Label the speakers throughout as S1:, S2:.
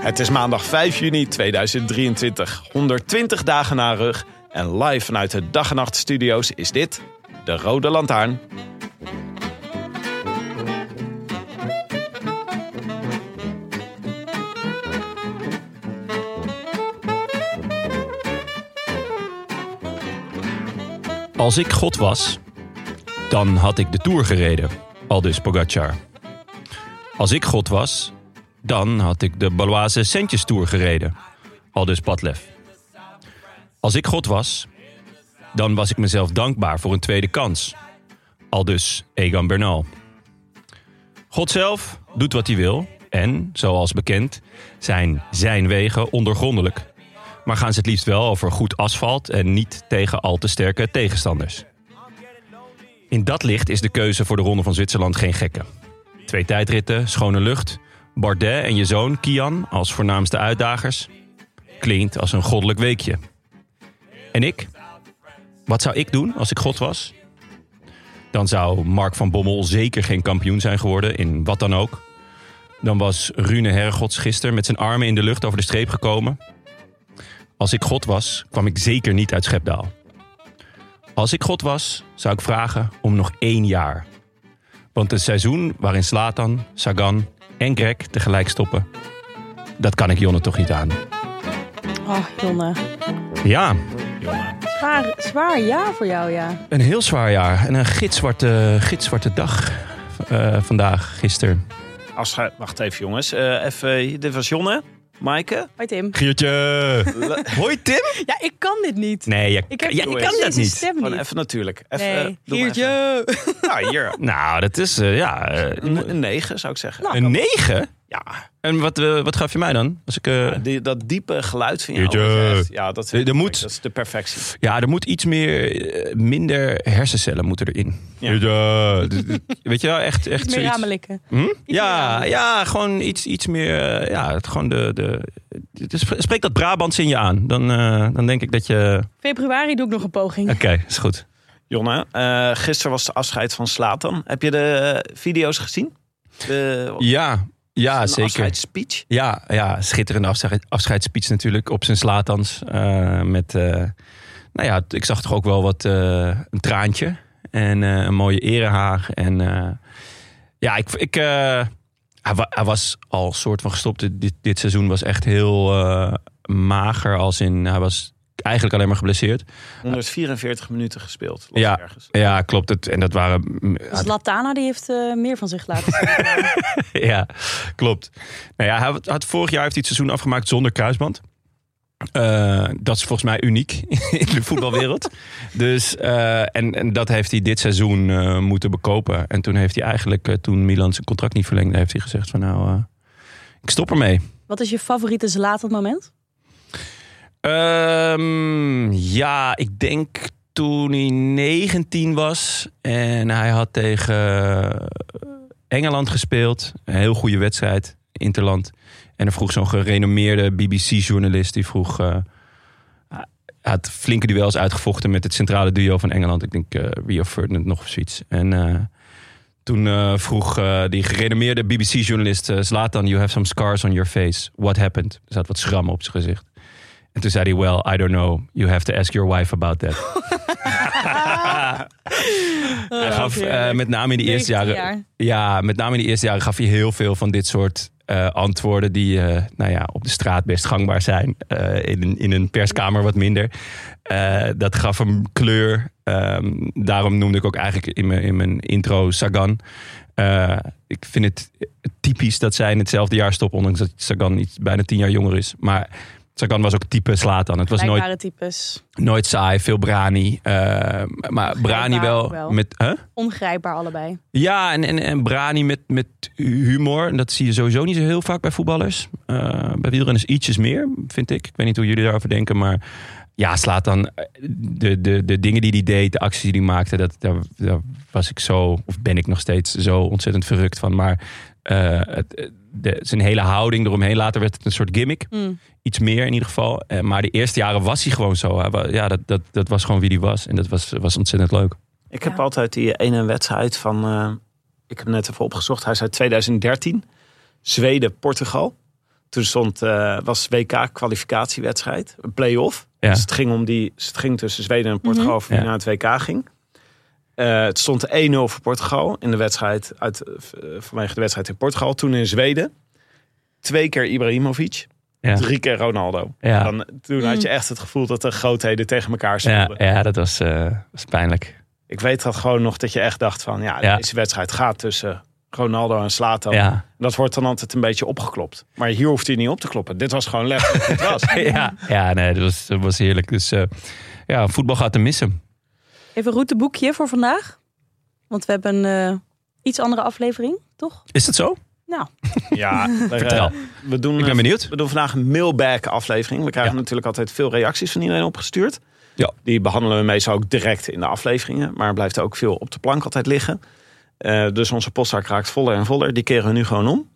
S1: Het is maandag 5 juni 2023, 120 dagen na rug. En live vanuit de dag en nacht studio's is dit de Rode Lantaarn.
S2: Als ik God was, dan had ik de Tour gereden, aldus Pogacar. Als ik God was, dan had ik de Baloise Centjes Tour gereden, aldus Padlef. Als ik God was, dan was ik mezelf dankbaar voor een tweede kans, dus- aldus Egan Bernal. God zelf doet wat hij wil en, zoals bekend, zijn zijn wegen ondergrondelijk. Maar gaan ze het liefst wel over goed asfalt en niet tegen al te sterke tegenstanders. In dat licht is de keuze voor de Ronde van Zwitserland geen gekke. Twee tijdritten, schone lucht, Bardet en je zoon Kian als voornaamste uitdagers. Klinkt als een goddelijk weekje. En ik? Wat zou ik doen als ik God was? Dan zou Mark van Bommel zeker geen kampioen zijn geworden in wat dan ook. Dan was Rune Hergods gisteren met zijn armen in de lucht over de streep gekomen. Als ik God was, kwam ik zeker niet uit Schepdaal. Als ik God was, zou ik vragen om nog één jaar. Want een seizoen waarin Slatan, Sagan en Greg tegelijk stoppen, dat kan ik Jonne toch niet aan.
S3: Oh, Jonne.
S2: Ja,
S3: Zwaar, zwaar ja voor jou, ja.
S2: een heel zwaar jaar en een gitzwarte, gitzwarte dag eh, vandaag, gisteren.
S1: Als ge- wacht even jongens, Eh, even, dit was Jonne, Maaike.
S3: Hoi Tim.
S2: Giertje!
S1: Le-
S2: Hoi Tim!
S3: Ja, ik kan dit niet.
S2: Nee, je,
S3: Ik heb
S2: ja,
S3: ik
S2: je
S1: doe
S2: kan
S1: eens.
S2: dat
S3: deze
S2: niet.
S3: stem niet.
S1: Gewoon even natuurlijk. Even,
S3: nee,
S1: eh, doe maar even. Ja, hier.
S2: Nou, dat is, eh, ja... eh,
S1: Een, een negen zou ik zeggen.
S3: Nou.
S2: een negen?
S1: Ja,
S2: En wat, eh, wat gaf je mij dan? Als ik, eh,
S1: die, dat diepe geluid van jou.
S2: Jeetje.
S1: dat is echt- Ja, dat,
S2: Er- er moet-
S1: dat is de perfectie.
S2: Ja, er moet iets meer, eh, minder hersencellen moeten erin.
S1: Ja.
S2: Ja, d- d- weet je wel, echt,
S3: Iets
S2: echt
S3: meer
S2: zoiets.
S3: ramen likken.
S2: Hm?
S3: ramen
S2: Ja,
S3: likken.
S2: ja, gewoon iets, iets meer, eh, ja, het, gewoon de, de, het is- spreek dat Brabants in je aan. Dan, eh, dan denk ik dat je,
S3: Februari doe ik nog een poging.
S2: oké, is goed.
S1: Jonne, eh, gisteren was de afscheid van Slatan. Heb je de eh, video's gezien? De,
S2: Ja, ja,
S1: een
S2: zeker.
S1: afscheidsspeech?
S2: Ja, ja, schitterende afscheid, afscheidsspeech natuurlijk op zijn Slatans. eh, met, eh, nou ja, ik zag toch ook wel wat eh, een traantje en eh, een mooie erehaag. En eh, ja, ik, ik, eh, hij, wa- hij was al soort van gestopt. Dit- Dit, dit seizoen was echt heel eh, mager, als in hij was eigenlijk alleen maar geblesseerd.
S1: 144 minuten gespeeld. las
S2: Ja.
S1: ik ergens.
S2: Ja, klopt. Het, en dat waren
S3: Dus Latana die heeft eh, meer van zich laten zien.
S2: ja, klopt. Nou ja, hij had- had vorig jaar heeft hij het seizoen afgemaakt zonder kruisband. Eh, dat is volgens mij uniek in de voetbalwereld. dus, eh, en, en dat heeft hij dit seizoen eh, moeten bekopen. En toen heeft hij eigenlijk, eh, toen Milan zijn contract niet verlengde, heeft hij gezegd van nou, eh, ik stop ermee.
S3: Wat is je favoriete Zlatan moment?
S2: Ehm, ja, ik denk toen hij 19 was en hij had tegen eh, Engeland gespeeld. Een heel goede wedstrijd, Interland. En er vroeg zo'n gerenommeerde BBC-journalist, die vroeg... eh, hij had flinke duels uitgevochten met het centrale duo van Engeland. Ik denk eh Rio Ferdinand nog of zoiets. En eh, toen eh, vroeg eh, die gerenommeerde BBC-journalist eh, Zlatan... You have some scars on your face. What happened? Er zat wat schrammen op zijn gezicht. En toen zei hij, well, I don't know. You have to ask your wife about that. hij gaf
S3: ook weer,
S2: eh, met name in de eerste
S3: 90
S2: jaren. Ja, met name in de eerste jaren gaf hij heel veel van dit soort eh, antwoorden. die eh, nou ja, op de straat best gangbaar zijn. Eh, in, een- in een perskamer wat minder. Eh, dat gaf hem kleur. Ehm, daarom noemde ik ook eigenlijk in mijn, in mijn intro Sagan. Eh, ik vind het typisch dat zij in hetzelfde jaar stopt. ondanks dat Sagan iets, bijna tien jaar jonger is. Maar Sagan was ook type Slatan. Het was nooit,
S3: Blijkbare types.
S2: nooit saai, veel Brani. Eh, maar Brani wel,
S3: ook wel.
S2: met. Huh?
S3: Ongrijpbaar allebei.
S2: Ja, en, en, en Brani met, met humor. En dat zie je sowieso niet zo heel vaak bij voetballers. Eh, bij wielrenners ietsjes meer, vind ik. Ik weet niet hoe jullie daarover denken, maar... Ja, slaat dan eh, de, de, de dingen die hij deed, de acties die hij maakte. Dat, daar, daar was ik zo, of ben ik nog steeds zo ontzettend verrukt van. Maar eh, het, de, zijn hele houding eromheen, later werd het een soort gimmick.
S3: Mm.
S2: Iets meer in ieder geval. Eh, maar de eerste jaren was hij gewoon zo. Hij wa- ja, dat, dat, dat was gewoon wie hij was. En dat was, was ontzettend leuk.
S4: Ik heb
S3: Ja.
S4: altijd die ene wedstrijd van. eh, ik heb net even opgezocht. Hij is uit 2013. Zweden-Portugal. Toen stond, eh, was WK-kwalificatiewedstrijd. Een play-off.
S2: Ja.
S4: Dus het ging, om die, dus het ging tussen Zweden en Portugal. Voor wie
S2: Ja.
S4: naar het WK ging. Eh, het stond 1-0 voor Portugal. In de wedstrijd uit, eh, vanwege de wedstrijd in Portugal. Toen in Zweden. Twee keer Ibrahimovic.
S2: Ja.
S4: Drie keer Ronaldo.
S2: Ja.
S4: Dan, toen had je echt het gevoel dat de grootheden tegen elkaar stonden.
S2: Ja, ja dat was, eh, was pijnlijk.
S4: Ik weet dat gewoon nog dat je echt dacht van ja,
S2: Ja.
S4: deze wedstrijd gaat tussen Ronaldo en Slato.
S2: Ja.
S4: Dat wordt dan altijd een beetje opgeklopt. Maar hier hoeft hij niet op te kloppen. Dit was gewoon letterlijk wat het was.
S2: ja. ja, nee, dat was, dat was heerlijk. Dus eh, ja, voetbal gaat te missen.
S3: Even een routeboekje voor vandaag. Want we hebben een eh, iets andere aflevering, toch?
S2: Is dat zo?
S4: Ja, maar, eh,
S2: Vertel.
S4: we, doen,
S2: Ik ben benieuwd.
S4: we doen vandaag een mailbag aflevering. We krijgen
S2: Ja.
S4: natuurlijk altijd veel reacties van iedereen opgestuurd.
S2: Ja.
S4: Die behandelen we meestal ook direct in de afleveringen. Maar er blijft ook veel op de plank altijd liggen. Eh, dus onze postzak raakt voller en voller. Die keren we nu gewoon om.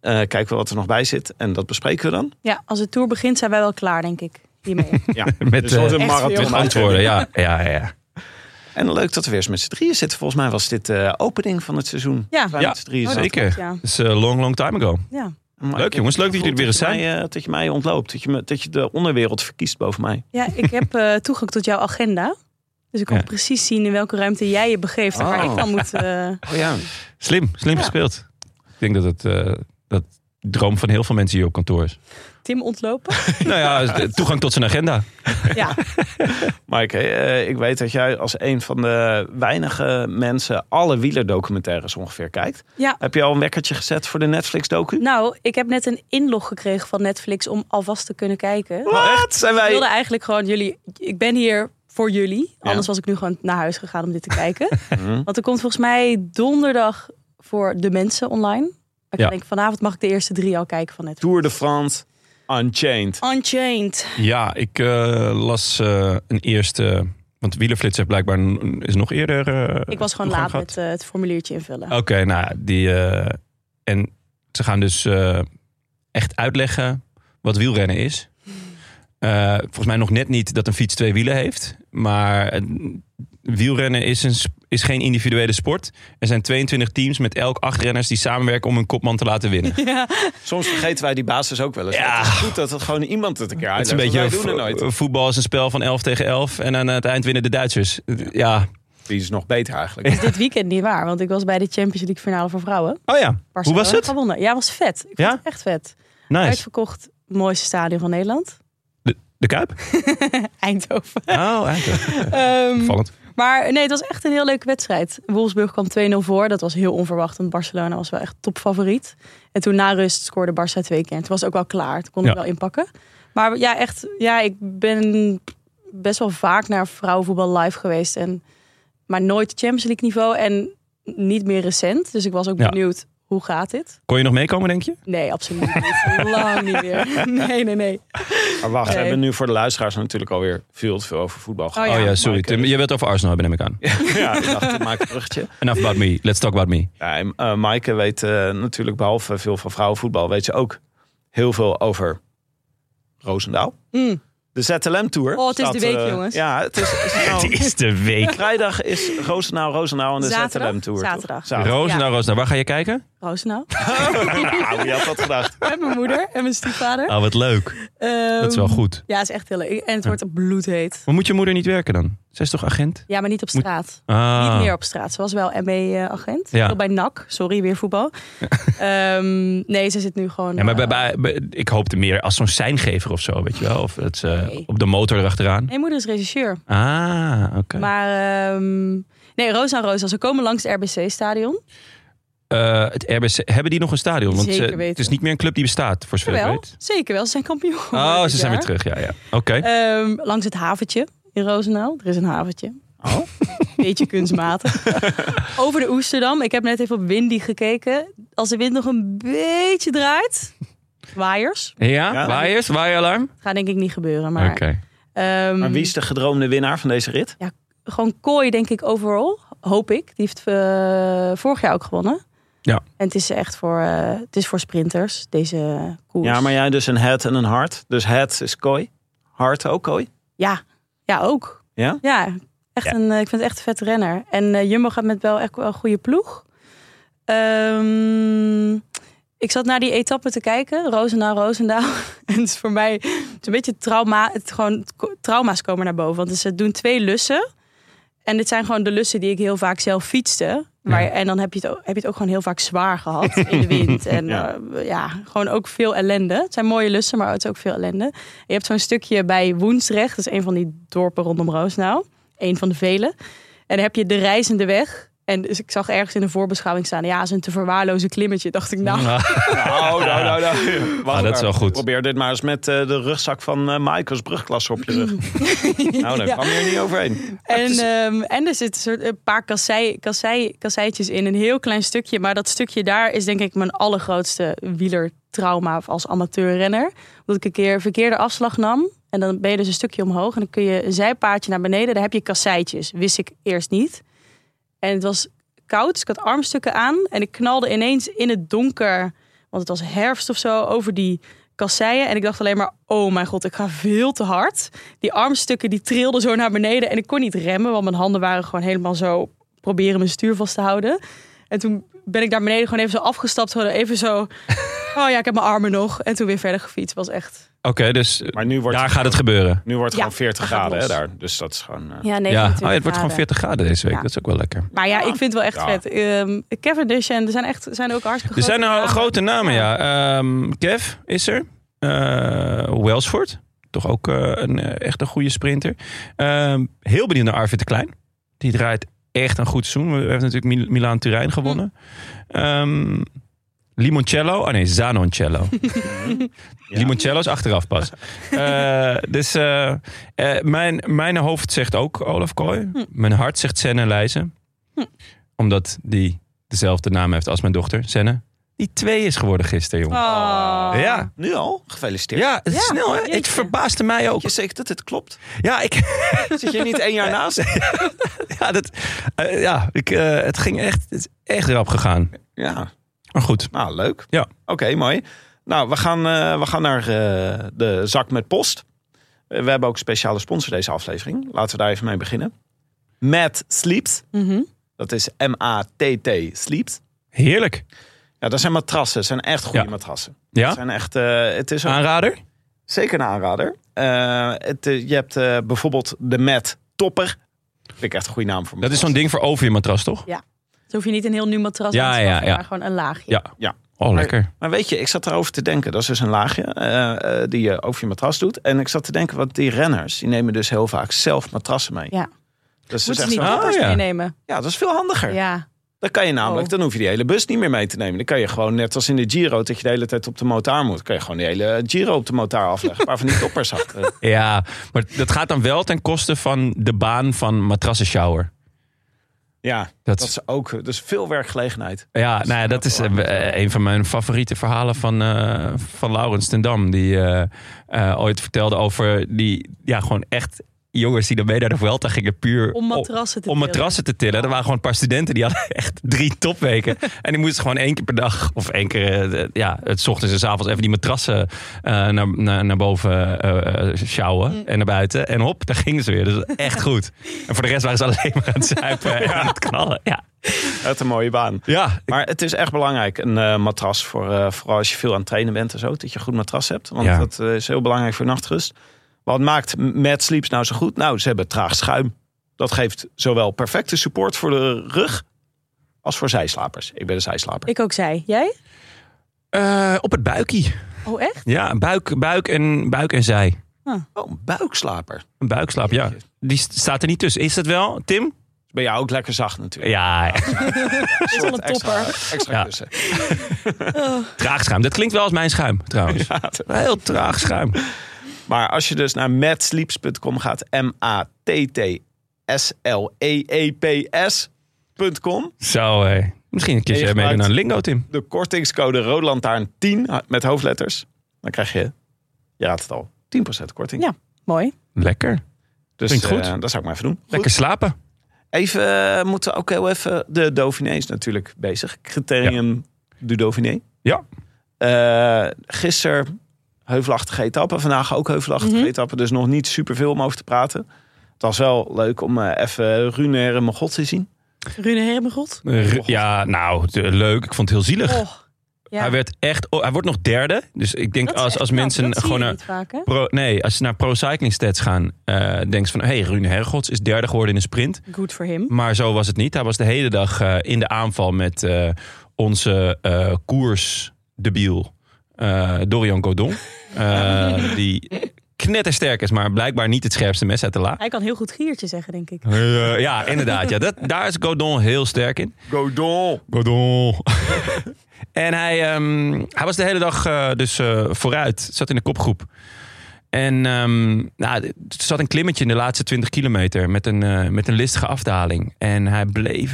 S4: Eh, kijken we wat er nog bij zit. En dat bespreken we dan.
S3: Ja, als de tour begint zijn wij wel klaar, denk ik. Hiermee.
S4: Ja,
S2: Met,
S4: dus het wordt een
S2: eh,
S3: Echt
S4: marathon.
S3: veel.
S2: Met antwoorden, ja. ja, ja, ja.
S4: En leuk dat we weer eens met z'n drieën zitten. Volgens mij was dit de opening van het seizoen.
S3: Ja.
S4: Dat wij
S2: Ja,
S4: met z'n drieën
S3: Oh, dat
S4: zaten.
S2: Zeker.
S3: klopt, ja.
S2: Dat is eh, long, long time ago.
S3: Ja.
S4: Maar
S2: Leuk,
S4: ik
S2: jongens.
S4: heb
S2: Leuk dat jullie
S4: het
S2: er
S4: gevoel
S2: weer eens
S4: dat je mij, eh, dat je mij ontloopt. Dat je, me, dat je de onderwereld verkiest boven mij.
S3: ja, ik heb eh, toegang tot jouw agenda. Dus ik kan
S2: Ja.
S3: precies zien in welke ruimte jij je begeeft. en Waar
S4: Oh.
S3: ik dan moet... eh,
S4: Oh ja.
S2: Slim, slim gespeeld. Ik denk dat het eh, dat de droom van heel veel mensen hier op kantoor is.
S3: Tim ontlopen.
S2: nou ja, de toegang tot zijn agenda.
S3: Ja,
S4: Mike, eh, ik weet dat jij als een van de weinige mensen alle wielerdocumentaires ongeveer kijkt.
S3: ja.
S4: Heb je al een wekkertje gezet voor de Netflix-docu?
S3: Nou, ik heb net een inlog gekregen van Netflix om alvast te kunnen kijken.
S4: Wat? Oh, Zijn
S3: Ik wilde
S4: wij...
S3: eigenlijk gewoon jullie. Ik ben hier voor jullie.
S4: Ja.
S3: Anders was ik nu gewoon naar huis gegaan om dit te kijken.
S4: Mhm.
S3: Want er komt volgens mij donderdag voor de mensen online. Maar ik
S2: Ja.
S3: denk vanavond mag ik de eerste drie al kijken van Netflix.
S4: Tour de France, Unchained.
S3: Unchained.
S2: Ja, ik eh, las eh, een eerste... Want Wielerflits heeft blijkbaar een- is nog eerder... eh,
S3: Ik was
S2: toegang
S3: gewoon laat
S2: gehad.
S3: met eh, het formuliertje invullen.
S2: Oké, nou, die. eh, en ze gaan dus eh, echt uitleggen wat wielrennen is. Eh, volgens mij nog net niet dat een fiets twee wielen heeft. Maar eh, wielrennen is, een, sp- is geen individuele sport. Er zijn 22 teams met elk acht renners die samenwerken om een kopman te laten winnen.
S3: Ja.
S4: Soms vergeten wij die basis ook wel eens.
S2: Ja.
S4: Het is goed dat het gewoon iemand het een keer
S2: Het is
S4: uitlegt.
S2: een beetje
S4: want wij doen er
S2: vo-
S4: nooit.
S2: voetbal is een spel van 11 tegen 11. En aan het eind winnen de Duitsers. Ja.
S4: Die is nog beter eigenlijk.
S3: Is dit weekend niet waar? Want ik was bij de Champions League finale voor vrouwen.
S2: Oh ja. Hoe
S3: Barcelona
S2: was het?
S3: Gewonnen. Ja, was vet. Ik vond
S2: Ja?
S3: het echt vet.
S2: Nice.
S3: Uitverkocht, mooiste stadion van Nederland.
S2: De, de Kuip?
S3: Eindhoven.
S2: Oh, eigenlijk.
S3: Ehm,
S2: Opvallend.
S3: Maar nee, het was echt een heel leuke wedstrijd. Wolfsburg kwam 2-0 voor. Dat was heel onverwacht, want Barcelona was wel echt topfavoriet. En toen na rust scoorde Barça twee keer. En toen was het ook wel klaar. Toen kon ik
S2: Ja.
S3: wel inpakken. Maar ja, echt, ja, ik ben best wel vaak naar vrouwenvoetbal live geweest. En, maar nooit Champions League niveau en niet meer recent. Dus ik was ook
S2: Ja.
S3: benieuwd, hoe gaat dit?
S2: Kon je nog meekomen, denk je?
S3: Nee, absoluut niet. Lang niet meer. Nee, nee, nee.
S4: Maar wacht, we
S3: Nee.
S4: hebben nu voor de luisteraars natuurlijk alweer veel te veel over voetbal gehad.
S3: Oh
S2: Oh ja, sorry.
S4: Mike,
S2: Tim, je wilt het over Arsenal hebben, neem ik aan.
S4: Ja, ik dacht, ik maak een bruggetje.
S2: Enough about me. Let's talk about me.
S4: Ja, en, eh, Maaike weet eh, natuurlijk behalve veel van vrouwenvoetbal, weet ze ook heel veel over Roosendaal.
S3: Mm.
S4: De ZLM Tour.
S3: Oh, het is de
S4: staat,
S3: week,
S4: eh,
S3: jongens.
S4: Ja, het is, het is nou-
S2: is de week.
S4: vrijdag is Roosendaal, Roosendaal en de
S3: Zaterdag?
S4: ZLM Tour. toch?
S3: Zaterdag.
S4: Zaterdag.
S2: Roos,
S3: Ja.
S2: nou Roos, nou, waar ga je kijken?
S3: Proost nou.
S4: Nou, wie had dat gedacht?
S3: Met mijn moeder en mijn stiefvader.
S2: Ah, wat leuk. Dat is wel
S3: Ehm,
S2: goed.
S3: Ja, is echt heel leuk. En het wordt bloedheet.
S2: Maar moet je moeder niet werken dan? Zij is toch agent?
S3: Ja, maar niet op straat.
S2: Ah.
S3: Niet meer op straat. Ze was wel ME-agent.
S2: Ja.
S3: Bij NAC. Sorry, weer voetbal. Ehm, nee, ze zit nu gewoon...
S2: Ja, maar bij,
S3: eh,
S2: bij, bij- ik hoopte meer als zo'n seingever of zo, weet je wel. Of dat ze
S3: Nee.
S2: op de motor erachteraan.
S3: Nee, moeder is regisseur.
S2: Ah, oké.
S3: Maar ehm, nee, Rosa en Rosa, ze komen langs het RBC-stadion.
S2: Eh, het RBC, hebben die nog een stadion? Want
S3: Zeker
S2: ze,
S3: weten.
S2: het is niet meer een club die bestaat, voor zover ik
S3: Wel,
S2: weet.
S3: zeker wel. Ze zijn kampioen. geworden
S2: Oh,
S3: dit
S2: ze zijn weer
S3: jaar.
S2: terug. Ja, ja. Oké.
S3: Ehm, langs het haventje in Roosendaal. Er is een haventje.
S2: Oh.
S3: Beetje kunstmatig. Over de Oesterdam. Ik heb net even op Windy gekeken. Als de wind nog een beetje draait. Waaiers.
S2: ja,
S4: Ja.
S2: waaiers, waaaieralarm.
S3: Dat gaat denk ik niet gebeuren. Eh, Maar,
S2: Oké.
S3: ehm,
S4: Maar wie is de gedroomde winnaar van deze rit?
S3: Gewoon kooi, denk ik, overal. Hoop ik. Die heeft eh, vorig jaar ook gewonnen.
S2: Ja.
S3: En het is echt voor, eh, het is voor sprinters, deze koers.
S4: Ja, maar jij dus een head en een hart. Dus head is kooi. Hart ook kooi.
S3: Ja, ja ook.
S4: Ja?
S3: Ja, echt Een, eh, ik vind het echt een vette renner. En eh, Jumbo gaat met wel echt wel een goede ploeg. Ehm, ik zat naar die etappe te kijken, Roosendaal, Roosendaal. En het is voor mij het is een beetje trauma, het, gewoon, trauma's komen naar boven. Want ze doen twee lussen. En dit zijn gewoon de lussen die ik heel vaak zelf fietste. Maar, En dan heb je, het ook, heb je het ook gewoon heel vaak zwaar gehad in de wind. En
S4: Ja.
S3: ja. ja, gewoon ook veel ellende. Het zijn mooie lussen, maar het is ook veel ellende. En je hebt zo'n stukje bij Woensrecht. Dat is een van die dorpen rondom Roosnaal. Een van de vele. En dan heb je de reizende weg. En dus ik zag ergens in de voorbeschouwing staan... ja, dat is een te verwaarlozen klimmetje. Dacht ik, nou,
S4: Nou, nou, nou, nou. Wacht
S2: Ah, dat is
S4: maar.
S2: wel goed.
S4: Probeer dit maar eens met eh, de rugzak van eh Maaikers brugklasse op je rug. nou, daar
S3: Ja.
S4: kwam je er niet overheen.
S3: En, ehm, en er zitten soort, een paar kassei, kassei, kasseitjes in, een heel klein stukje. Maar dat stukje daar is denk ik mijn allergrootste wielertrauma als amateurrenner. Omdat ik een keer een verkeerde afslag nam. En dan ben je dus een stukje omhoog. En dan kun je een zijpaadje naar beneden. Daar heb je kasseitjes. Wist ik eerst niet. En het was koud, dus ik had armstukken aan. En ik knalde ineens in het donker, want het was herfst of zo, over die kasseien. En ik dacht alleen maar, oh mijn god, ik ga veel te hard. Die armstukken die trilden zo naar beneden. En ik kon niet remmen, want mijn handen waren gewoon helemaal zo... proberen mijn stuur vast te houden. En toen ben ik daar beneden gewoon even zo afgestapt. Gewoon even zo, oh ja, ik heb mijn armen nog. En toen weer verder gefietst. was echt...
S2: Oké, dus
S4: Maar nu wordt
S2: daar gaat het gebeuren.
S4: nu wordt het
S3: Ja,
S4: gewoon 40
S3: dat gaat
S4: graden hè,
S3: los.
S4: daar. Dus dat is gewoon... eh,
S3: Ja, nee,
S2: ja. Oh, ja, het wordt gewoon 40 graden deze week.
S3: Ja.
S2: Dat is ook wel lekker.
S3: Maar ja, ik vind het wel echt
S4: Ja.
S3: vet. Ehm Cavendish en er zijn echt zijn ook hartstikke
S2: Er zijn
S3: grote
S2: nou
S3: namen.
S2: grote namen, ja. Ehm, Kev is er. Eh Welsford. Toch ook eh, een, eh, echt een goede sprinter. Ehm, heel benieuwd naar Arvid de Klein. Die draait echt een goed seizoen. We hebben natuurlijk Mil- Milaan-Turijn gewonnen. Ehm, Limoncello. Oh nee, Zanoncello. Limoncello is achteraf pas. Eh, dus eh, eh, mijn, mijn hoofd zegt ook Olaf Kooi.
S4: Hm.
S2: Mijn hart zegt Senne Leijzen. Omdat die dezelfde naam heeft als mijn dochter, Senne. Die twee is geworden gisteren, jongen.
S3: Ah.
S4: Oh.
S2: Ja,
S4: Nu al? Gefeliciteerd.
S2: ja, het is
S3: Ja,
S2: snel hè. Het
S3: jeetje.
S2: verbaasde mij ook.
S4: Je zegt dat het klopt.
S2: Ja, ik,
S4: Zit je niet één jaar naast?
S2: ja, dat, eh, ja ik, eh, het ging echt, het is echt rap gegaan.
S4: Ja,
S2: Maar goed,
S4: nou leuk.
S2: Ja.
S4: Oké, mooi. Nou, we gaan, eh, we gaan naar eh, de zak met post. Eh, we hebben ook een speciale sponsor deze aflevering. Laten we daar even mee beginnen. Matt Sleeps.
S3: Mhm.
S4: Dat is M-A-T-T Sleeps.
S2: heerlijk.
S4: Ja, dat zijn matrassen. Dat zijn echt goede
S2: Ja.
S4: matrassen. Dat
S2: Ja, Ah.
S4: zijn echt, eh, het is ook
S2: aanrader.
S4: zeker een aanrader. Eh, het, eh, je hebt eh, bijvoorbeeld de Matt Topper. Vind ik echt een goede naam voor
S2: Dat is zo'n ding voor over je matras, toch?
S3: Dus hoef je niet een heel nieuw matras
S2: Ja,
S3: aan te schaffen,
S2: ja, ja.
S3: maar gewoon een laagje.
S2: Ja. Oh, lekker.
S4: Maar weet je, ik zat erover te denken. Dat is dus een laagje eh, eh, die je over je matras doet. En ik zat te denken, want die renners, die nemen dus heel vaak zelf matrassen mee.
S3: Ja.
S4: Dus dat is
S3: Moeten ze
S4: echt
S3: niet
S4: wel-
S2: Ah,
S3: toppers
S2: ja.
S3: meenemen?
S4: ja, dat is veel handiger.
S3: Ja.
S4: Dan kan je namelijk,
S3: Oh.
S4: dan hoef je die hele bus niet meer mee te nemen. Dan kan je gewoon, net als in de Giro, dat je de hele tijd op de motor moet. kan je gewoon de hele Giro op de motor afleggen. Een paar van die toppers achter.
S2: Ja, maar dat gaat dan wel ten koste van de baan van matrassenshower.
S4: Ja,
S2: Dat,
S4: dat is ook, dus veel werkgelegenheid.
S2: ja, nou ja, dat is eh, eh, een van mijn favoriete verhalen van, eh, van Laurens ten Dam. Die eh, eh, ooit vertelde over die, ja, gewoon echt jongens die dan mee naar de Vuelta gingen puur
S3: Om matrassen te
S2: om
S3: tillen.
S2: matrassen te tillen. Er waren gewoon een paar studenten die hadden echt drie topweken. en die moesten gewoon één keer per dag of één keer eh, ja, het 's ochtends en 's avonds even die matrassen eh, naar, naar, naar boven eh eh, sjouwen
S3: Mm.
S2: en naar buiten. En hop, daar gingen ze weer. Dus echt goed. En voor de rest waren ze alleen maar aan het zuipen en aan het knallen. Ja,
S4: Uit een mooie baan.
S2: ja
S4: Maar het is echt belangrijk, een eh, matras. Voor, eh, vooral als je veel aan het trainen bent en zo. Dat je een goed matras hebt. Want
S2: Ja.
S4: dat eh, is heel belangrijk voor nachtrust. Wat maakt Mad Sleeps nou zo goed? Nou, ze hebben traag schuim. Dat geeft zowel perfecte support voor de rug als voor zijslapers. Ik ben een zijslaper.
S3: Ik ook zij. Jij?
S2: Eh, op het buikie.
S3: Oh, echt?
S2: Ja, buik, buik, en, buik en zij.
S4: Oh, een buikslaper.
S2: Een buikslaap, ja. Die st- staat er niet tussen. Is dat wel, Tim?
S4: Ben jou ook lekker zacht natuurlijk.
S2: Ja,
S3: Is wel een
S4: extra,
S3: topper.
S4: extra
S2: Ja.
S4: kussen.
S2: traag schuim. Dat klinkt wel als mijn schuim, trouwens. Heel traag schuim.
S4: Maar als je dus naar matsleeps.com gaat, E M-A-T-T-S-L-E-E-P-S.com.
S2: Zo, hé. Misschien een keertje
S4: Even
S2: meedoen
S4: uit.
S2: aan Lingo, Tim.
S4: De kortingscode Roodlantaarn 10 met hoofdletters. Dan krijg je, je raadt het al, 10% korting.
S3: Ja. Mooi.
S2: Lekker.
S4: dus
S2: klinkt
S4: eh,
S2: goed.
S4: dat zou ik maar even doen.
S2: Lekker slapen.
S4: Even eh, moeten we ook heel even, de Dauphiné is natuurlijk bezig. Criterium du Dauphiné.
S2: Ja.
S4: Eh gisteren heuvelachtige etappe. Vandaag ook heuvelachtige
S3: Mhm.
S4: etappe. Dus nog niet superveel om over te praten. Het was wel leuk om eh, even Runer en Mogot te zien.
S3: Rune Hermegod.
S2: Eh, r- Ja, nou, t- leuk. Ik vond het heel zielig.
S3: Oh. Ja.
S2: Hij werd echt... oh, hij wordt nog derde. Dus ik denk
S3: Dat is
S2: als,
S3: echt
S2: als
S3: knap.
S2: mensen
S3: Dat zie
S2: gewoon
S3: je
S2: naar...
S3: niet vaak, hè?
S2: Pro, nee, als ze naar Pro Cycling Stats gaan, eh denk ze van... hey, Rune Hergods is derde geworden in een sprint.
S3: Good for him.
S2: Maar zo was het niet. Hij was de hele dag eh, in de aanval met eh, onze eh koersdebiel eh, Dorian Godon. Eh, die knettersterk is, maar blijkbaar niet het scherpste mes uit de la.
S3: Hij kan heel goed giertje zeggen, denk ik.
S2: Eh, ja, inderdaad. Ja, dat, daar is Godon heel sterk in.
S4: Godon.
S2: Godon. en hij, ehm, hij was de hele dag eh, dus eh, vooruit. Zat in de kopgroep. En ehm, nou, er zat een klimmetje in de laatste 20 kilometer met een, eh, met een listige afdaling. En hij bleef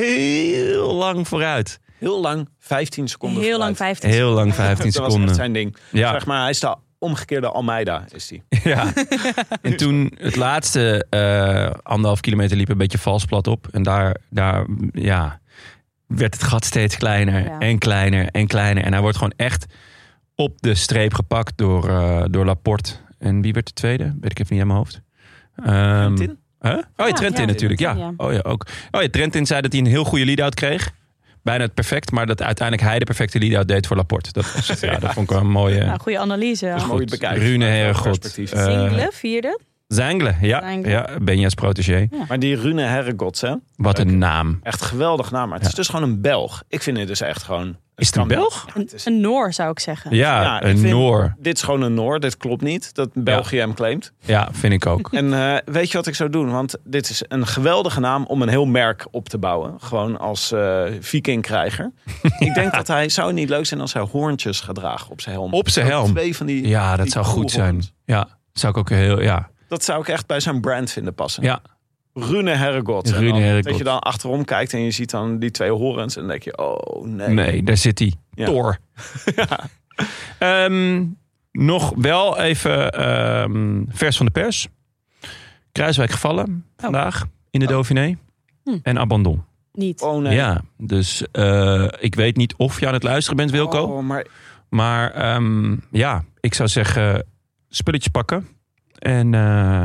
S2: heel lang vooruit.
S4: Heel lang, 15 seconden.
S3: Heel lang
S4: vooruit.
S3: 50.
S2: Heel lang, 15
S4: Dat was echt
S2: seconden.
S4: zijn ding.
S2: Ja.
S4: Zeg maar, hij is de omgekeerde Almeida. Is die.
S2: Ja. En toen het laatste eh, anderhalf kilometer liep een beetje vals plat op. En daar, daar ja, werd het gat steeds kleiner
S3: Ja.
S2: en kleiner en kleiner. En hij wordt gewoon echt op de streep gepakt door, eh, door Laporte. En wie werd de tweede? Weet ik even niet aan mijn hoofd. Ehm,
S4: Tin?
S2: Huh? Oh ja,
S3: Ja,
S2: Trentin
S3: ja.
S2: natuurlijk. Ja.
S3: Ja.
S2: Oh ja, ook. Oh ja, Trentin zei dat hij een heel goede lead-out kreeg. Bijna het perfect, maar dat uiteindelijk hij de perfecte lead-out deed voor Laporte. Dat, was, het. ja, dat vond ik wel een mooie...
S3: Nou, goede analyse.
S4: Dus
S3: Goed.
S4: mooi bekijken.
S2: Rune
S4: Vanuit
S2: Herre,
S4: welk
S2: God.
S4: perspectief.
S2: Eh,
S3: Zingle, vierde.
S2: Zengle, ja.
S3: Zengle.
S2: ja Benja's protégé.
S4: Maar die Rune Herregods, hè?
S2: Wat een naam.
S4: Echt geweldig naam. Maar het is dus gewoon een Belg. Ik vind het dus echt gewoon...
S2: Is het een Belg?
S4: Ja,
S3: Een,
S4: het is-
S3: een Noor, zou ik zeggen.
S2: Ja,
S4: Ja, ik
S2: een
S4: vind-
S2: Noor.
S4: dit is gewoon een Noor. Dit klopt niet. Dat België hem claimt.
S2: Ja, vind ik ook.
S4: En eh, weet je wat ik zou doen? Want dit is een geweldige naam om een heel merk op te bouwen. Gewoon als eh vikingkrijger. Ik denk dat hij zou het niet leuk zijn als hij hoorntjes gaat dragen op zijn helm.
S2: Op zijn
S4: Ook
S2: helm.
S4: Twee van die,
S2: Ja, dat
S4: die
S2: zou goed
S4: koehoorns.
S2: zijn. Ja, zou ik ook heel... Ja,
S4: Dat zou ik echt bij zijn brand vinden passen.
S2: ja.
S4: Rune Herregot.
S2: Rune Herregot.
S4: Dat je dan achterom kijkt en je ziet dan die twee horens. En dan denk je, oh nee.
S2: nee, daar zit hij.
S4: Ja.
S2: Thor. Ehm, nog wel even ehm, vers van de pers. Kruiswijk gevallen
S4: Oh.
S2: vandaag in de Dauphiné.
S3: Hm.
S2: En abandon.
S3: Niet.
S4: Oh nee.
S2: Ja, dus eh, ik weet niet of je aan het luisteren bent, Wilco.
S4: Oh, maar
S2: Maar ehm, ja, ik zou zeggen, spulletjes pakken. En eh,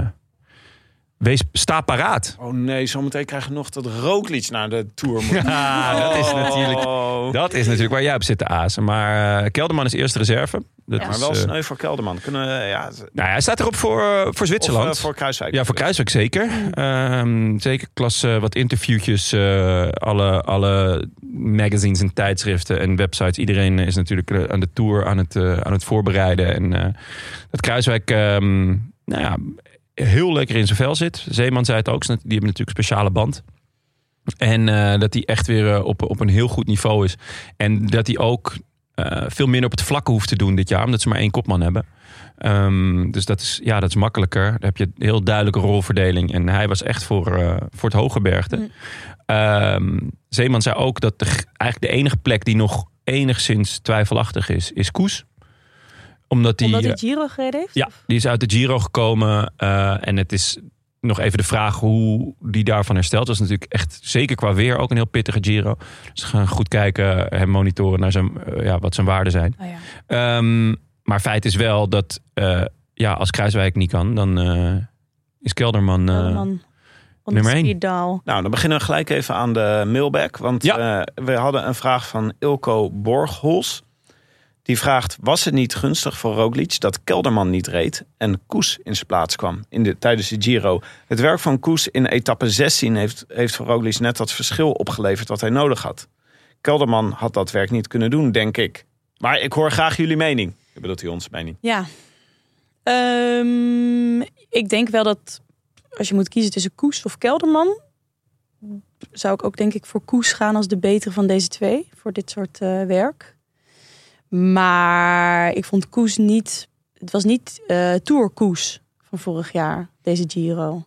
S2: wees, sta paraat.
S4: oh nee, zometeen krijg je nog dat rookliedje naar de Tour. moet.
S2: Ja, Ah, dat is natuurlijk,
S4: Oh.
S2: dat is natuurlijk waar jij op zit te azen. Maar eh, Kelderman is eerste reserve. Dat
S3: Ja.
S2: is,
S4: Maar wel
S2: eh,
S4: sneu voor Kelderman. Kunnen, we- ja, of,
S2: nou, ja, hij staat erop voor, eh, voor Zwitserland.
S4: eh, voor Kruiswijk.
S2: Ja, voor Kruiswijk zeker. Ehm, zeker klasse, wat interviewtjes, eh, alle, alle magazines en tijdschriften en websites. Iedereen is natuurlijk eh, aan de tour aan het, eh, aan het voorbereiden. En eh, dat Kruiswijk ehm, nou ja, heel lekker in zijn vel zit. Zeeman zei het ook, die hebben natuurlijk een speciale band. En eh, dat hij echt weer eh, op, op een heel goed niveau is. En dat hij ook eh, veel minder op het vlakke hoeft te doen dit jaar, omdat ze maar één kopman hebben. Ehm, dus dat is, ja, dat is makkelijker. Daar heb je een heel duidelijke rolverdeling. En hij was echt voor, eh, voor het hooggebergte.
S3: Mm.
S2: Ehm, Zeeman zei ook dat de, g- eigenlijk de enige plek die nog enigszins twijfelachtig is, is Koes. Omdat die,
S3: Omdat hij
S2: eh,
S3: Giro gereden heeft?
S2: ja, die is uit de Giro gekomen. eh, en het is nog even de vraag hoe die daarvan herstelt. Dat is natuurlijk echt, zeker qua weer, ook een heel pittige Giro. Dus we gaan goed kijken, hem monitoren naar zijn, eh, ja, wat zijn waarden zijn.
S3: Oh ja.
S2: Ehm, maar feit is wel dat eh, ja, als Kruiswijk niet kan, dan eh, is Kelderman. eh,
S3: Oh, man. On
S2: nummer
S3: the
S2: één.
S3: speed dial.
S4: Nou, dan beginnen we gelijk even aan de mailback. Want
S2: Ja.
S4: eh, we hadden een vraag van Ilko Borghols. Die vraagt, was het niet gunstig voor Roglic dat Kelderman niet reed en Koes in zijn plaats kwam in de, tijdens de Giro? Het werk van Koes in etappe 16 heeft, heeft voor Roglic net dat verschil opgeleverd wat hij nodig had. Kelderman had dat werk niet kunnen doen, denk ik. Maar ik hoor graag jullie mening. Ik bedoel, hij ons mening.
S3: Ja. Ehm, ik denk wel dat als je moet kiezen tussen Koes of Kelderman, zou ik ook denk ik voor Koes gaan als de betere van deze twee voor dit soort eh, werk. Maar ik vond Koes niet. Het was niet eh Tour Koes van vorig jaar, deze Giro.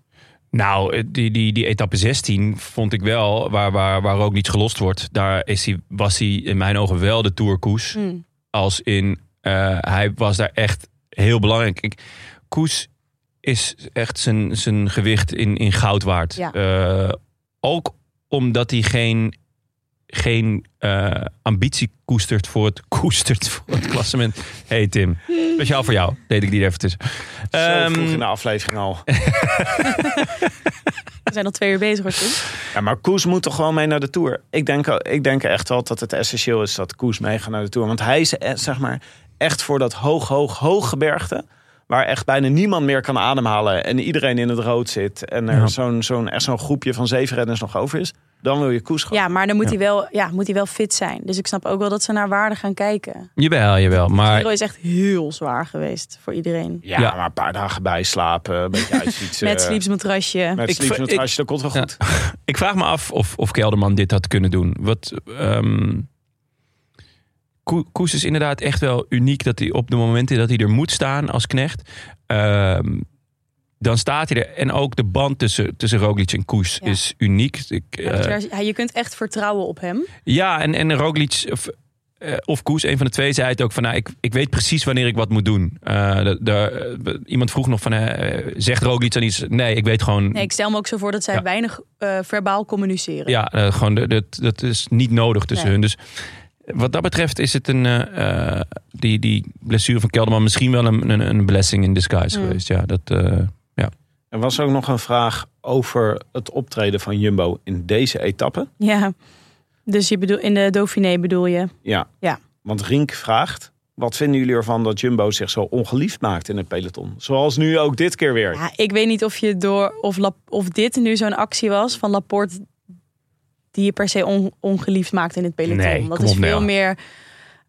S2: Nou, eh, die, die, die etappe 16 vond ik wel, waar, waar, waar ook niets gelost wordt. Daar is hij, was hij in mijn ogen wel de toerkoes. Als in, eh, hij was daar echt heel belangrijk. Ik, Koes is echt zijn, zijn gewicht in, in goud waard.
S3: Ja.
S2: Eh, ook omdat hij geen, geen eh, ambitie koestert voor het, koestert voor het klassement. hey Tim, speciaal voor jou deed ik die er even tussen.
S4: Zo
S2: Ehm,
S4: vroeg in de aflevering al.
S3: We zijn al twee uur bezig, hoor. Tim.
S4: Ja, maar Koes moet toch gewoon mee naar de Tour? Ik denk, ik denk echt wel dat het essentieel is dat Koes meegaat naar de Tour. Want hij is eh, zeg maar, echt voor dat hoog, hoog, hoog gebergte... waar echt bijna niemand meer kan ademhalen... en iedereen in het rood zit... en er
S2: Ja.
S4: zo'n, zo'n, echt zo'n groepje van zeven renners nog over is... dan wil je Koes gewoon.
S3: Ja, maar dan moet, Hij wel, ja, moet hij wel fit zijn. Dus ik snap ook wel dat ze naar waarde gaan kijken.
S2: Jawel, jawel. Maar
S3: Giro is echt heel zwaar geweest voor iedereen.
S4: Ja,
S2: Ja.
S4: maar een paar dagen bijslapen, een beetje uitfietsen.
S3: Met sleepsmatrasje.
S4: Met
S2: Ik
S4: sleeps,
S2: v-
S4: met
S2: ik-
S4: trasje, dat komt wel
S2: Ja.
S4: goed.
S2: Ik vraag me af of, of Kelderman dit had kunnen doen. Wat, ehm, Ko- Koes is inderdaad echt wel uniek dat hij op de momenten dat hij er moet staan als knecht. ehm, dan staat hij er. En ook de band tussen, tussen Roglic en Koes
S3: Ja.
S2: is uniek. Ik,
S3: Hij heeft
S2: eh,
S3: daar- hij- je kunt echt vertrouwen op hem.
S2: ja, en, en Roglic of, eh, of Koes, een van de twee, zei het ook van... Nou, ik, ik weet precies wanneer ik wat moet doen. Eh, de- de- eh, iemand vroeg nog van, eh, zegt Roglic dan iets? Nee, ik weet gewoon...
S3: Nee, ik stel me ook zo voor dat zij
S2: Ja.
S3: weinig eh, verbaal communiceren.
S2: Ja, eh, gewoon de- dat, dat is niet nodig tussen
S3: Nee.
S2: hun. Dus wat dat betreft is het een, eh, eh, die, die blessure van Kelderman misschien wel een, een, een blessing in disguise
S3: Mm.
S2: geweest. Ja, dat, eh,
S4: Er was ook nog een vraag over het optreden van Jumbo in deze etappe.
S3: Ja. Dus je bedoel, in de Dauphiné bedoel je?
S4: Ja.
S3: Ja.
S4: Want Rink vraagt: wat vinden jullie ervan dat Jumbo zich zo ongeliefd maakt in het peloton? Zoals nu ook dit keer weer.
S3: Ja, ik weet niet of, je door, of, Lap- of dit nu zo'n actie was van Laporte... die je per se on- ongeliefd maakt in het peloton.
S2: Nee,
S3: dat
S2: kom
S3: is
S2: op,
S3: veel
S2: Nel.
S3: meer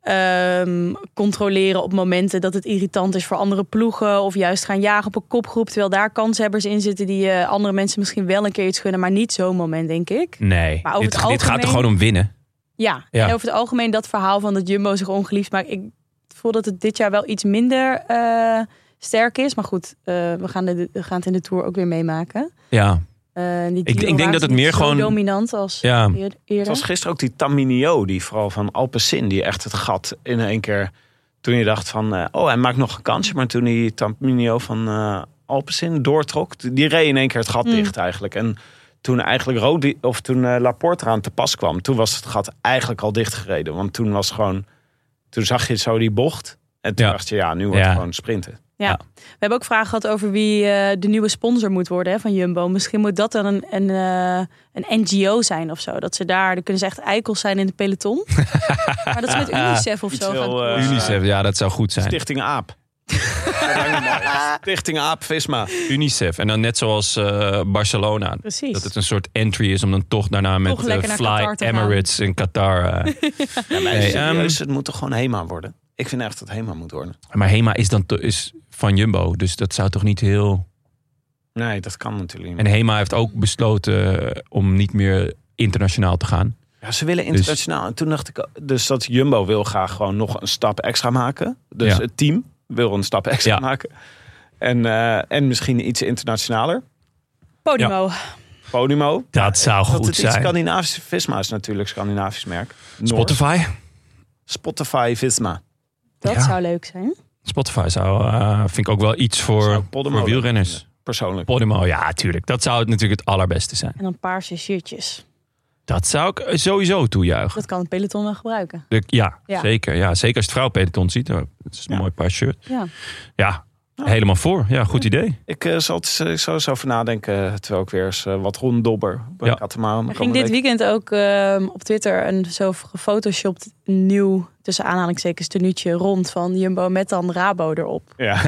S3: ehm, controleren op momenten dat het irritant is voor andere ploegen... of juist gaan jagen op een kopgroep... terwijl daar kanshebbers in zitten die eh, andere mensen misschien wel een keer iets gunnen... maar niet zo'n moment, denk ik.
S2: nee,
S3: Maar over
S2: dit,
S3: het
S2: dit gaat
S3: algemeen-
S2: er gewoon om winnen.
S3: Ja,
S2: Ja.
S3: en over het algemeen dat verhaal van dat Jumbo zich ongeliefd maakt. Ik voel dat het dit jaar wel iets minder eh, sterk is. Maar goed, eh, we, gaan de, we gaan het in de Tour ook weer meemaken.
S2: Ja,
S3: Eh, die
S2: Ik- ik
S3: Giro
S2: denk
S3: waren
S2: dat het
S3: niet
S2: meer
S3: zo
S2: gewoon-
S3: dominant als
S2: ja.
S3: eer-
S4: Het
S3: eerder.
S4: was gisteren ook die Taminio, die vooral van Alpecin, die echt het gat in één keer. Toen je dacht van, eh, oh, hij maakt nog een kansje. Maar toen die Taminio van eh Alpecin doortrok, die reed in één keer het gat
S3: Mm.
S4: dicht eigenlijk. En toen eigenlijk Rodi, of toen eh, Laporte eraan te pas kwam, toen was het gat eigenlijk al dichtgereden. Want toen was gewoon, toen zag je zo die bocht. En toen
S2: Ja.
S4: dacht je, ja, nu wordt
S2: Ja.
S4: het gewoon sprinten.
S3: We hebben ook vragen gehad over wie eh, de nieuwe sponsor moet worden hè, van Jumbo. Misschien moet dat dan een, een, eh, een NGO zijn of zo. Dat ze daar, dan kunnen ze echt eikels zijn in het peloton. maar dat ze met UNICEF of
S4: Iets
S3: zo gaan.
S4: heel, eh,
S2: UNICEF, ja, dat zou goed zijn.
S4: Stichting Aap. Stichting Aap Visma.
S2: UNICEF. En dan net zoals eh, Barcelona.
S3: Precies.
S2: Dat het een soort entry is om dan toch daarna met
S3: lekker
S2: eh,
S3: naar
S2: Fly
S3: Qatar te gaan.
S2: Emirates in Qatar. eh.
S4: Ja, maar
S2: Nee,
S4: serieus, het moet toch gewoon HEMA worden? Ik vind echt dat HEMA moet worden.
S2: maar Hema is dan to- is van Jumbo, dus dat zou toch niet heel...
S4: Nee, dat kan natuurlijk niet.
S2: En Hema heeft ook besloten eh, om niet meer internationaal te gaan.
S4: Ja, ze
S2: Dus-
S4: willen internationaal. En toen dacht ik, dus dat Jumbo wil graag gewoon nog een stap extra maken. Dus
S2: Ja.
S4: het team wil een stap extra
S2: Ja.
S4: maken. En, eh, en misschien iets internationaler.
S3: Podimo.
S4: Podimo.
S2: Dat zou
S4: dat het iets Scandinavisch Visma is natuurlijk, Scandinavisch merk. Noors.
S2: Spotify?
S4: Spotify Visma.
S3: Dat
S2: Ja.
S3: zou leuk zijn.
S2: Spotify zou, eh, vind ik ook wel iets
S4: Zou
S2: voor,
S4: Podimo
S2: voor wielrenners.
S4: Persoonlijk.
S2: Podimo, ja, tuurlijk. Dat zou het natuurlijk het allerbeste zijn.
S3: En dan paarse shirtjes.
S2: Dat zou ik eh, sowieso toejuichen.
S3: Dat kan het peloton wel gebruiken.
S2: De- ja,
S3: Ja.
S2: zeker. Ja, zeker als het vrouwpeloton ziet. Oh, Dat is een
S4: Ja.
S2: mooi paar shirt.
S3: Ja.
S2: Ja, helemaal voor. Ja, goed idee.
S4: Ik eh, zal het eh, zo eens over nadenken. Terwijl ik weer eens eh, wat ronddobber op een
S2: Ja.
S4: katamaran.
S3: Er ging dit weekend ook ehm, op Twitter een zo gefotoshopt nieuw, tussen aanhalingstekens, tenuutje rond van Jumbo met dan Rabo erop.
S4: Ja.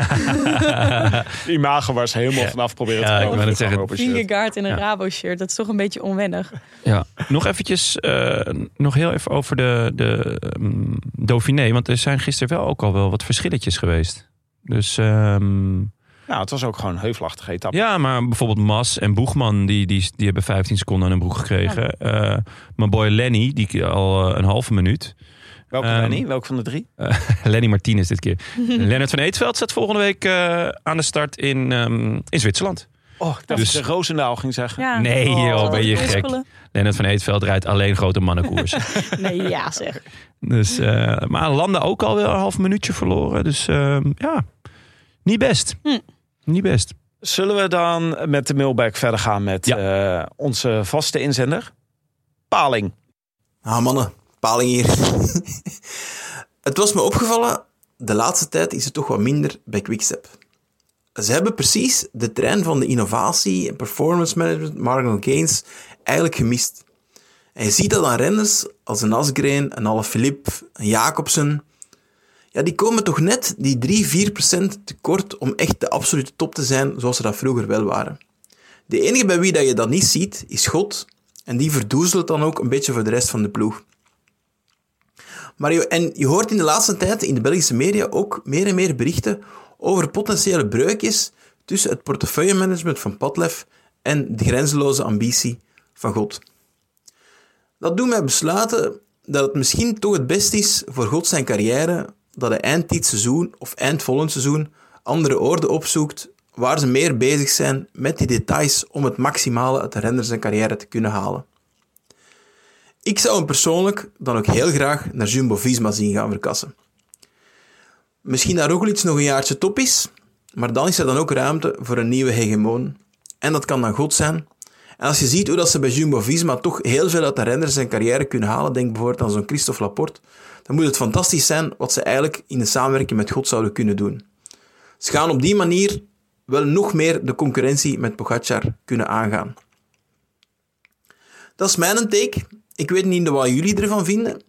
S4: Imago was helemaal vanaf proberen
S2: Ja,
S4: te
S2: ik wou net zeggen.
S3: Vingegaard in een
S2: Ja.
S3: Rabo shirt, dat is toch een beetje onwennig.
S2: Ja. Nog eventjes, eh, nog heel even over de, de ehm, Dauphiné. Want er zijn gisteren wel ook al wel wat verschilletjes geweest. Dus ehm,
S4: Nou, het was ook gewoon een heuvelachtige etappe.
S2: ja, maar bijvoorbeeld Mas en Boegman, die, die, die hebben 15 seconden aan hun broek gekregen. Eh, mijn boy Lenny, die al eh, een halve minuut.
S4: Welke
S2: Ehm,
S4: ben je? Welke van de drie?
S2: Lenny Martinez dit keer. Lennart van Eetveld staat volgende week eh, aan de start in, ehm, in Zwitserland.
S4: Oh, ik dacht
S2: dus-
S4: dat je Roosendaal ging zeggen.
S3: Ja.
S2: Nee, joh, ben je
S3: dat is
S2: gek.
S3: spullen.
S2: Lennart van Eetveld rijdt alleen grote mannenkoers.
S3: Nee, ja zeg.
S2: Dus, eh, maar Landa ook al wel een half minuutje verloren. Dus eh, ja, niet best.
S3: Hm.
S2: Niet best.
S4: Zullen we dan met de mailbag verder gaan met
S2: Ja.
S4: eh, onze vaste inzender? Paling.
S5: Ah mannen, paling hier. het was me opgevallen, de laatste tijd is het toch wat minder bij Quickstep. Ze hebben precies de trein van de innovatie en performance management, Marginal Gains, eigenlijk gemist. En je ziet dat aan renners als een Asgreen, een Alaphilippe, een Jacobsen. Ja, die komen toch net die 3-4% tekort om echt de absolute top te zijn zoals ze dat vroeger wel waren. De enige bij wie dat je dat niet ziet, is God. En die verdoezelt dan ook een beetje voor de rest van de ploeg. Maar je, en je hoort in de laatste tijd in de Belgische media ook meer en meer berichten over potentiële breukjes tussen het portefeuillemanagement van Padlef en de grenzeloze ambitie van God. Dat doet mij besluiten dat het misschien toch het best is voor God zijn carrière dat hij eind dit seizoen of eind volgend seizoen andere oorden opzoekt waar ze meer bezig zijn met die details om het maximale uit de renner zijn carrière te kunnen halen. Ik zou hem persoonlijk dan ook heel graag naar Jumbo-Visma zien gaan verkassen. Misschien dat Roglic nog een jaartje top is, maar dan is er dan ook ruimte voor een nieuwe hegemoon. En dat kan dan goed zijn. En als je ziet hoe dat ze bij Jumbo-Visma toch heel veel uit de renners zijn carrière kunnen halen, denk bijvoorbeeld aan zo'n Christophe Laporte, dan moet het fantastisch zijn wat ze eigenlijk in de samenwerking met God zouden kunnen doen. Ze gaan op die manier wel nog meer de concurrentie met Pogacar kunnen aangaan. Dat is mijn take. Ik weet niet wat jullie ervan vinden.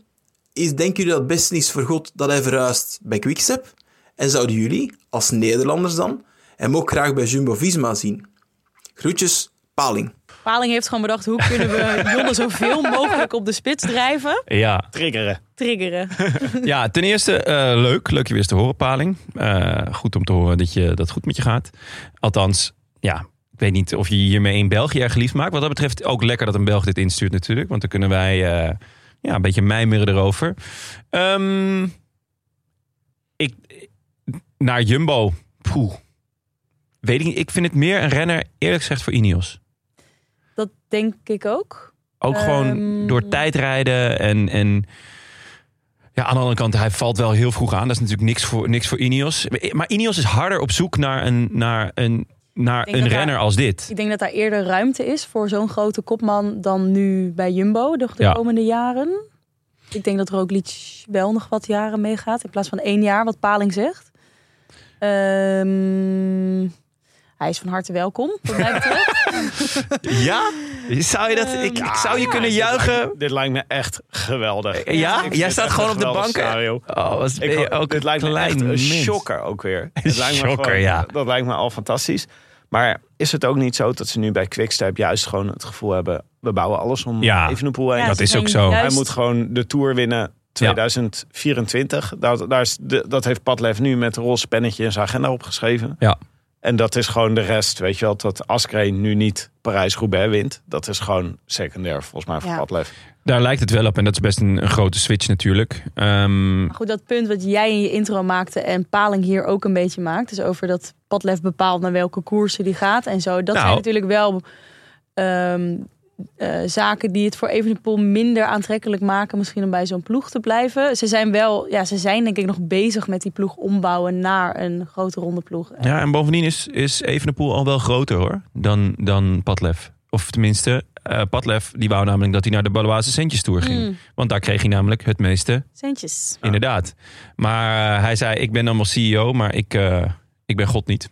S5: Is, denken jullie dat het beste is voor God dat hij verhuist bij Quickstep? En zouden jullie, als Nederlanders dan, hem ook graag bij Jumbo-Visma zien? Groetjes, Paling.
S3: Paling heeft gewoon bedacht, hoe kunnen we Jonne zoveel mogelijk op de spits drijven?
S2: Ja,
S4: Triggeren.
S3: Triggeren.
S2: ja ten eerste eh, leuk. Leuk je weer eens te horen, Paling. Eh, goed om te horen dat, je, dat het goed met je gaat. Althans, ja, ik weet niet of je je hiermee in België erg geliefd maakt. Wat dat betreft ook lekker dat een Belg dit instuurt natuurlijk. Want dan kunnen wij eh, ja, een beetje mijmeren erover. Ehm, ik, naar Jumbo. Poeh. Weet ik, niet. ik vind het meer een renner, eerlijk gezegd, voor Ineos.
S3: Dat denk ik ook.
S2: Ook gewoon
S3: Ehm.
S2: door tijdrijden en, en... Ja, aan de andere kant, hij valt wel heel vroeg aan. Dat is natuurlijk niks voor, niks voor Ineos. Maar Ineos is harder op zoek naar een, naar een, naar
S3: denk
S2: een
S3: dat daar-
S2: renner als dit.
S3: Ik denk dat daar eerder ruimte is voor zo'n grote kopman dan nu bij Jumbo de, de
S2: Ja.
S3: komende jaren. Ik denk dat Roglic wel nog wat jaren meegaat in plaats van één jaar, wat Paling zegt. Ehm, hij is van harte welkom, wat mij betreft.
S2: Ja? Zou je dat...
S3: Ehm,
S2: Ik, ik zou je kunnen juichen...
S4: Dit lijkt me echt geweldig.
S2: Ja? Jij staat gewoon op de bank. hè?
S4: Scenario.
S2: Oh, was ben
S4: Ik,
S2: je
S4: ho-
S2: ook
S4: dit lijkt me
S2: klein
S4: echt een
S2: mens.
S4: shocker ook weer. Het lijkt me
S2: shocker,
S4: gewoon-
S2: ja.
S4: Dat lijkt me al fantastisch. Maar is het ook niet zo dat ze nu bij Quickstep juist gewoon het gevoel hebben... we bouwen alles om
S2: Ja.
S4: Evenepoel heen.
S3: Ja,
S2: dat
S3: ze
S2: is ook
S3: zijn
S2: zo.
S3: juist-
S4: Hij moet gewoon de Tour winnen 2024. Dat, daar is de- dat heeft Padlef nu met een roze pennetje in zijn agenda opgeschreven.
S2: Ja.
S4: En dat is gewoon de rest. Weet je wel, dat Askreen nu niet Parijs-Roubaix wint. Dat is gewoon secundair volgens mij voor
S3: Ja.
S4: Padlef.
S2: Daar lijkt het wel op. En dat is best een, een grote switch natuurlijk. Ehm,
S3: Maar goed, dat punt wat jij in je intro maakte en Paling hier ook een beetje maakt. Dus over dat Padlef bepaalt naar welke koersen die gaat en zo. Dat
S2: Nou.
S3: zijn natuurlijk wel ehm, eh, zaken die het voor Evenepoel minder aantrekkelijk maken, misschien om bij zo'n ploeg te blijven. Ze zijn wel, ja, ze zijn denk ik nog bezig met die ploeg ombouwen naar een grote ronde ploeg.
S2: Ja, en bovendien is, is Evenepoel al wel groter hoor, dan, dan Padlef. Of tenminste, eh Padlef die wou namelijk dat hij naar de Baloise Centjes Tour ging.
S3: Mm.
S2: Want daar kreeg hij namelijk het meeste,
S3: Centjes.
S2: inderdaad. Maar eh, hij zei, ik ben allemaal CEO, maar ik, eh, ik ben God niet.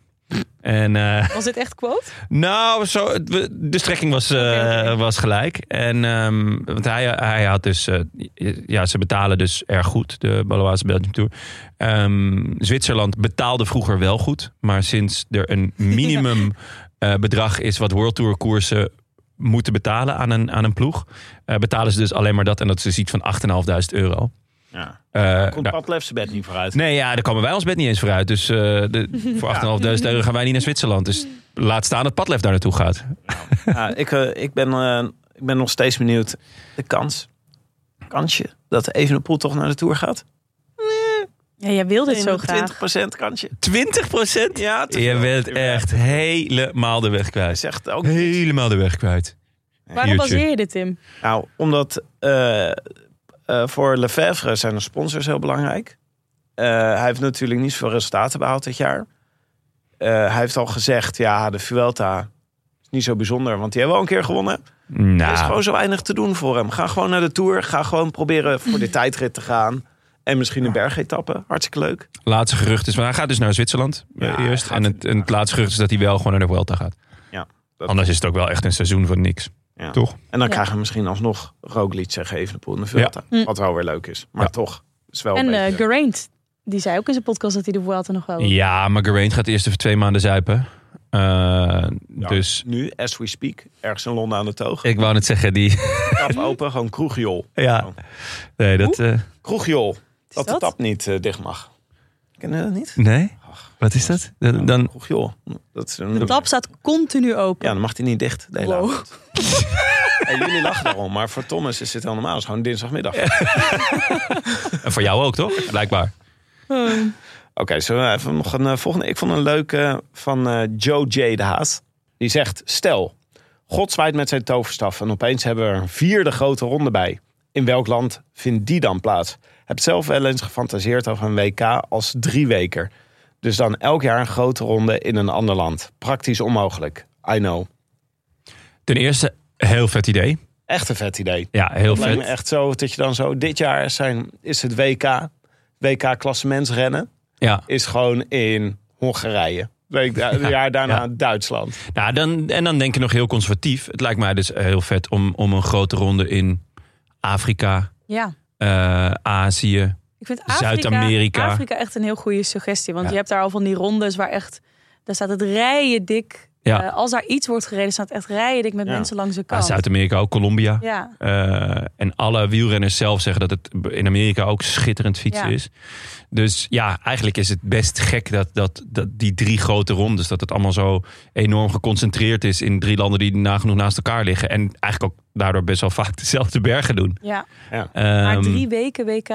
S2: En eh,
S3: Was dit echt quote?
S2: nou, zo, het- we- de strekking was, eh,
S3: Oké, oké.
S2: was gelijk. En, ehm, want hij, hij had dus... eh, ja, ze betalen dus erg goed, de Baloise Belgium Tour. Ehm, Zwitserland betaalde vroeger wel goed. Maar sinds er een minimum eh, bedrag is wat World Tour koersen moeten betalen aan een, aan een ploeg... eh, betalen ze dus alleen maar dat. En dat is dus iets van 8.500 euro.
S4: Ja.
S2: Eh,
S4: Komt
S2: nou,
S4: Pat Lefse bed niet vooruit.
S2: Nee, ja, daar komen wij ons bed niet eens vooruit. Dus eh, de, voor 8.500 euro gaan wij niet naar Zwitserland. Dus laat staan dat Padlef daar naartoe gaat.
S4: Ja, ik, eh, ik, ben, eh, ik ben nog steeds benieuwd. De kans. Kansje dat Evenepoel toch naar de Tour gaat?
S3: Ja, jij wil dit zo graag.
S4: 20% kansje.
S2: 20 procent?
S4: Ja, te
S2: Je
S4: veel.
S2: bent echt helemaal de weg
S4: Hij
S2: kwijt.
S4: zegt ook
S2: Helemaal de weg kwijt.
S3: Waarom
S2: Hiertje.
S3: baseer je dit, Tim?
S4: Nou, omdat eh, eh, voor Lefebvre zijn de sponsors heel belangrijk. Eh, hij heeft natuurlijk niet zoveel resultaten behaald dit jaar. Eh, hij heeft al gezegd, ja, de Vuelta is niet zo bijzonder, want die hebben we al een keer gewonnen. Er is
S2: Nou,
S4: gewoon zo weinig te doen voor hem. Ga gewoon naar de Tour. Ga gewoon proberen voor de tijdrit te gaan. En misschien een bergetappe. Hartstikke leuk.
S2: laatste gerucht is, maar hij gaat dus naar Zwitserland eh,
S4: Ja,
S2: eerst.
S4: hij
S2: En
S4: gaat-
S2: het, en het laatste gerucht is dat hij wel gewoon naar de Vuelta gaat.
S4: Ja, dat-
S2: Anders is het ook wel echt een seizoen van niks.
S4: Ja.
S2: Toch?
S4: En dan
S3: Ja.
S4: krijgen we misschien alsnog Roglic en Evenepoel in de Vuelta.
S3: Ja.
S4: Wat wel weer leuk is. Maar
S2: Ja.
S4: toch, is wel
S3: En
S4: een
S3: eh
S4: beetje...
S3: Geraint, die zei ook in zijn podcast dat hij de Vuelta nog wel wil.
S2: Ja, maar Geraint gaat eerst even twee maanden zuipen. Eh, Dus
S4: Nu, as we speak, ergens in Londen aan de toog.
S2: ik wou net zeggen, die...
S4: Tap open, gewoon kroegjol.
S2: ja. Nee, dat... eh,
S4: Kroegjol.
S3: Is
S4: Dat de
S3: dat?
S4: tap niet eh, dicht mag. Kennen jullie dat niet?
S2: nee? Wat is dat? Dan, dan-
S4: Kroegjol. Dat is een...
S3: De tap staat continu open.
S4: Ja, dan mag hij niet dicht de hele
S3: Wow.
S4: avond. Hey, jullie lachen daarom, maar voor Thomas is dit helemaal normaal. Het is gewoon dinsdagmiddag.
S2: en voor jou ook, toch? Blijkbaar.
S4: Oké, zullen we even nog een eh, volgende? Ik vond een leuke van eh, Joe J. de Haas. Die zegt, stel, God zwaait met zijn toverstaf... en opeens hebben we er een vierde grote ronde bij. In welk land vindt die dan plaats? Heb zelf wel eens gefantaseerd over een WK als drieweker. Dus dan elk jaar een grote ronde in een ander land. Praktisch onmogelijk, I know.
S2: Ten eerste, heel vet idee.
S4: Echt een vet idee.
S2: Ja, heel
S4: Het lijkt me
S2: vet.
S4: echt zo dat je dan zo... Dit jaar zijn, is het WK, WK-klassementsrennen...
S2: Ja.
S4: is gewoon in Hongarije. Week da- jaar daarna
S2: ja.
S4: Duitsland.
S2: Nou, dan, en dan denk je nog heel conservatief. Het lijkt mij dus heel vet om, om een grote ronde in Afrika,
S3: Ja.
S2: eh, Azië.
S3: Ik vind Afrika,
S2: Zuid-Amerika.
S3: Afrika echt een heel goede suggestie. Want
S2: Ja.
S3: je hebt daar al van die rondes waar echt... Daar staat het rijen dik.
S2: Ja.
S3: Eh, als daar iets wordt gereden, staat echt rijen dik met
S4: Ja.
S3: mensen langs de
S2: Ah,
S3: kant.
S2: Zuid-Amerika ook, Colombia.
S3: ja.
S2: Eh, en alle wielrenners zelf zeggen dat het in Amerika ook schitterend fietsen
S3: Ja.
S2: is. Dus ja, eigenlijk is het best gek dat, dat, dat die drie grote rondes, dat het allemaal zo enorm geconcentreerd is in drie landen die nagenoeg naast elkaar liggen. En eigenlijk ook daardoor best wel vaak dezelfde bergen doen.
S3: ja. Maar
S2: Ehm,
S3: drie weken WK?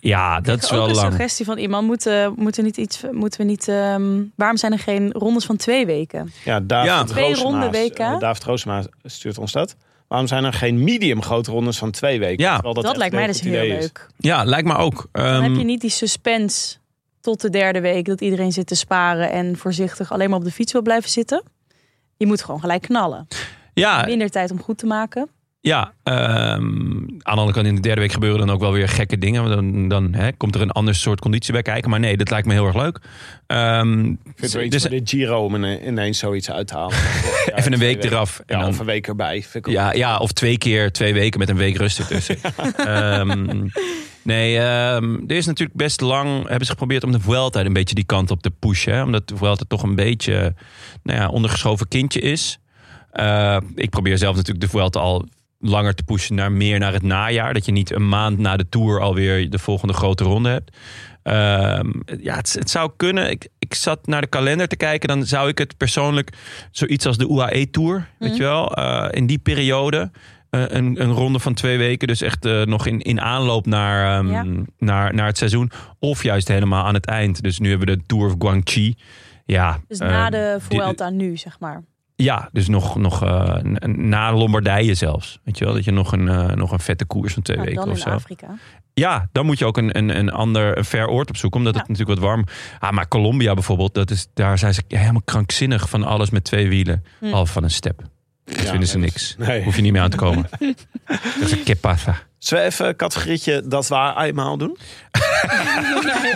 S2: ja, dat is
S3: ook
S2: wel
S3: een
S2: lang.
S3: suggestie van iemand. Moeten, moeten, niet iets, moeten we niet... ehm, waarom zijn er geen rondes van twee weken?
S4: Ja, David
S2: Ja.
S3: Twee
S4: Roosemaas,
S3: ronden WK.
S4: eh, David Roosema stuurt ons dat. Waarom zijn er geen medium grote rondes van twee weken?
S2: Ja.
S4: Terwijl
S3: Dat,
S4: echt
S3: lijkt
S4: een
S3: mij dus
S4: goed
S3: heel
S4: idee is.
S3: leuk.
S2: Ja, lijkt me ook.
S3: Dan
S2: Ehm,
S3: heb je niet die suspense tot de derde week dat iedereen zit te sparen en voorzichtig alleen maar op de fiets wil blijven zitten. Je moet gewoon gelijk knallen.
S2: ja,
S3: Minder tijd om goed te maken.
S2: Ja, ehm, aan de andere kant in de derde week gebeuren dan ook wel weer gekke dingen. Want Dan, dan hè, komt er een ander soort conditie bij kijken. Maar nee, dat lijkt me heel erg leuk. Ehm,
S4: Ik vind het wel iets
S2: dus
S4: voor de Giro om ine- ineens zoiets uit te halen.
S2: even een
S4: twee
S2: week
S4: weken.
S2: eraf. En
S4: Ja,
S2: dan-
S4: of een week erbij. Vind ik ook-
S2: ja, ja, of twee keer twee weken met een week rust ertussen. Ehm, nee, ehm, er is natuurlijk best lang... hebben ze geprobeerd om de Vuelta een beetje die kant op te pushen. Hè? Omdat de Vuelta toch een beetje nou ja, ondergeschoven kindje is. Eh, ik probeer zelf natuurlijk de Vuelta al langer te pushen naar meer naar het najaar. Dat je niet een maand na de Tour alweer de volgende grote ronde hebt. Ehm, ja, het, het zou kunnen. Ik, ik zat naar de kalender te kijken. Dan zou ik het persoonlijk zoiets als de UAE Tour,
S3: Mhm.
S2: weet je wel, eh, in die periode. eh, een, een ronde van twee weken, dus echt eh, nog in, in aanloop naar, ehm,
S3: Ja.
S2: naar, naar het seizoen. Of juist helemaal aan het eind. Dus nu hebben we de Tour of Guangxi. Ja,
S3: Dus
S2: eh,
S3: na de
S2: dit-
S3: Vuelta nu, zeg maar.
S2: Ja, dus nog, nog eh, n- na Lombardije zelfs. Weet je wel, dat je nog een, eh, nog een vette koers van twee
S3: Nou,
S2: weken
S3: dan
S2: of
S3: in
S2: zo.
S3: Afrika.
S2: Ja, dan moet je ook een, een, een ander een ver oord opzoeken. Omdat het natuurlijk wat warm... Ah, maar Colombia bijvoorbeeld, dat is, daar zijn ze helemaal krankzinnig van alles met twee wielen.
S3: Hm.
S2: Behalve van een step. Dat vinden ze niks.
S4: Nee.
S2: Hoef je niet meer aan te komen. dat is een que pasa.
S4: Zullen we even een categorietje dat waar eenmaal doen?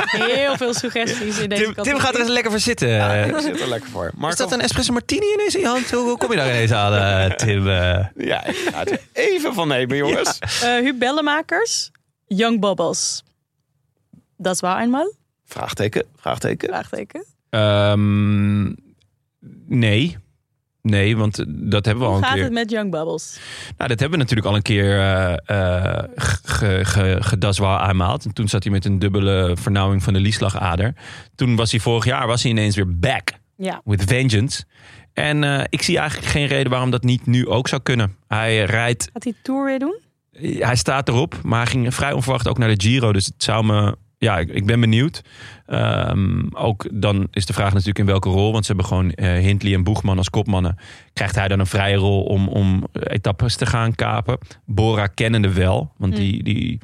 S3: Heel veel suggesties in deze
S2: Tim, Tim
S3: categorie.
S2: gaat er eens lekker voor zitten.
S4: ik zit er lekker voor.
S2: is
S4: Marco?
S2: dat een espresso martini ineens in je hand? Hoe hoe kom je daar ineens aan, eh, Tim? eh?
S4: Ja, ik ga er even van nemen, jongens.
S3: Eh, Huub Bellemakers, Young Bubbles. Dat is waar eenmaal,
S4: Vraagteken, vraagteken.
S3: vraagteken.
S2: Ehm, nee. Nee, want dat hebben we al
S3: Hoe
S2: een
S3: gaat
S2: keer.
S3: het met Young Bubbles?
S2: Nou, dat hebben we natuurlijk al een keer eh eh, g- ge- ge- gedaswaal aanmaald. En toen zat hij met een dubbele vernauwing van de lieslagader. Toen was hij vorig jaar was hij ineens weer back
S3: Ja,
S2: with vengeance. En eh, ik zie eigenlijk geen reden waarom dat niet nu ook zou kunnen. Hij rijdt,
S3: gaat hij Tour weer doen?
S2: hij staat erop, maar hij ging vrij onverwacht ook naar de Giro. Dus het zou me, ja, ik, ik ben benieuwd. Ehm, ook dan is de vraag natuurlijk in welke rol, want ze hebben gewoon eh, Hindley en Boegman als kopmannen. Krijgt hij dan een vrije rol om, om eh, etappes te gaan kapen? Bora kennende wel, want
S3: Hmm.
S2: die, die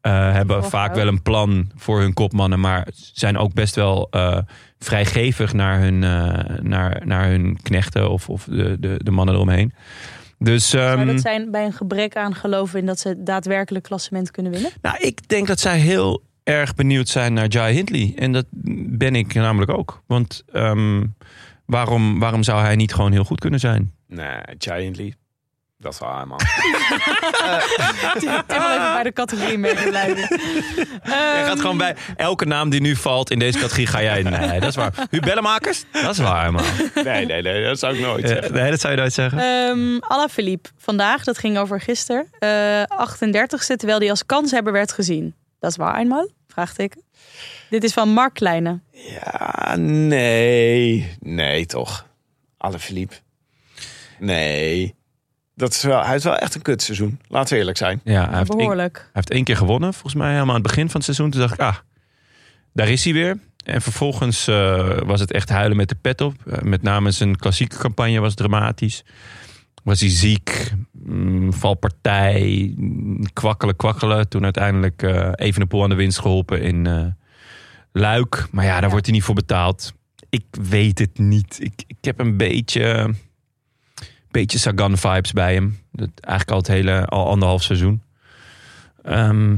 S2: eh, hebben
S3: Volgen
S2: vaak
S3: ook.
S2: wel een plan voor hun kopmannen, maar zijn ook best wel eh, vrijgevig naar hun, eh, naar, naar hun knechten of, of de, de, de mannen eromheen. Dus,
S3: Zou
S2: ehm,
S3: dat zijn bij een gebrek aan geloven in dat ze daadwerkelijk klassement kunnen winnen?
S2: nou, ik denk dat zij heel erg benieuwd zijn naar Jai Hindley. En dat ben ik namelijk ook. Want ehm, waarom, waarom zou hij niet gewoon heel goed kunnen zijn?
S4: Nee, Giantly. Dat is waar eenmaal.
S3: Tim wil even bij de categorie mee blijven.
S2: Jij gaat gewoon bij elke naam die nu valt in deze categorie ga jij... Nee, dat is waar. Hubellenmakers? Dat is waar, man.
S4: Nee, nee, nee, dat zou ik nooit
S2: Eh,
S4: zeggen.
S2: nee, dat zou je nooit zeggen.
S3: Ehm Alaphilippe vandaag, dat ging over gisteren. eh 38ste, terwijl die als kanshebber werd gezien. Dat is waar eenmaal, vraagteken. Dit is van Mark Kleine.
S4: Ja, nee. Nee, toch. Alle Philippe. Nee. Dat is wel, hij heeft wel echt een kutseizoen. Laten we eerlijk zijn.
S2: Ja, hij heeft, één, hij
S3: Behoorlijk.
S2: heeft één keer gewonnen. Volgens mij helemaal aan het begin van het seizoen. Toen dacht ik, ah, daar is hij weer. En vervolgens eh, was het echt huilen met de pet op. Eh, met name zijn klassieke campagne was dramatisch. Was hij ziek, mm, valpartij, mm, kwakkelen, kwakkelen. Toen uiteindelijk eh Evenepoel aan de winst geholpen in eh, Luik. Maar ja, daar wordt hij niet voor betaald. Ik weet het niet. Ik, ik heb een beetje, beetje Sagan-vibes bij hem. Dat, eigenlijk al het hele, al anderhalf seizoen. Ehm,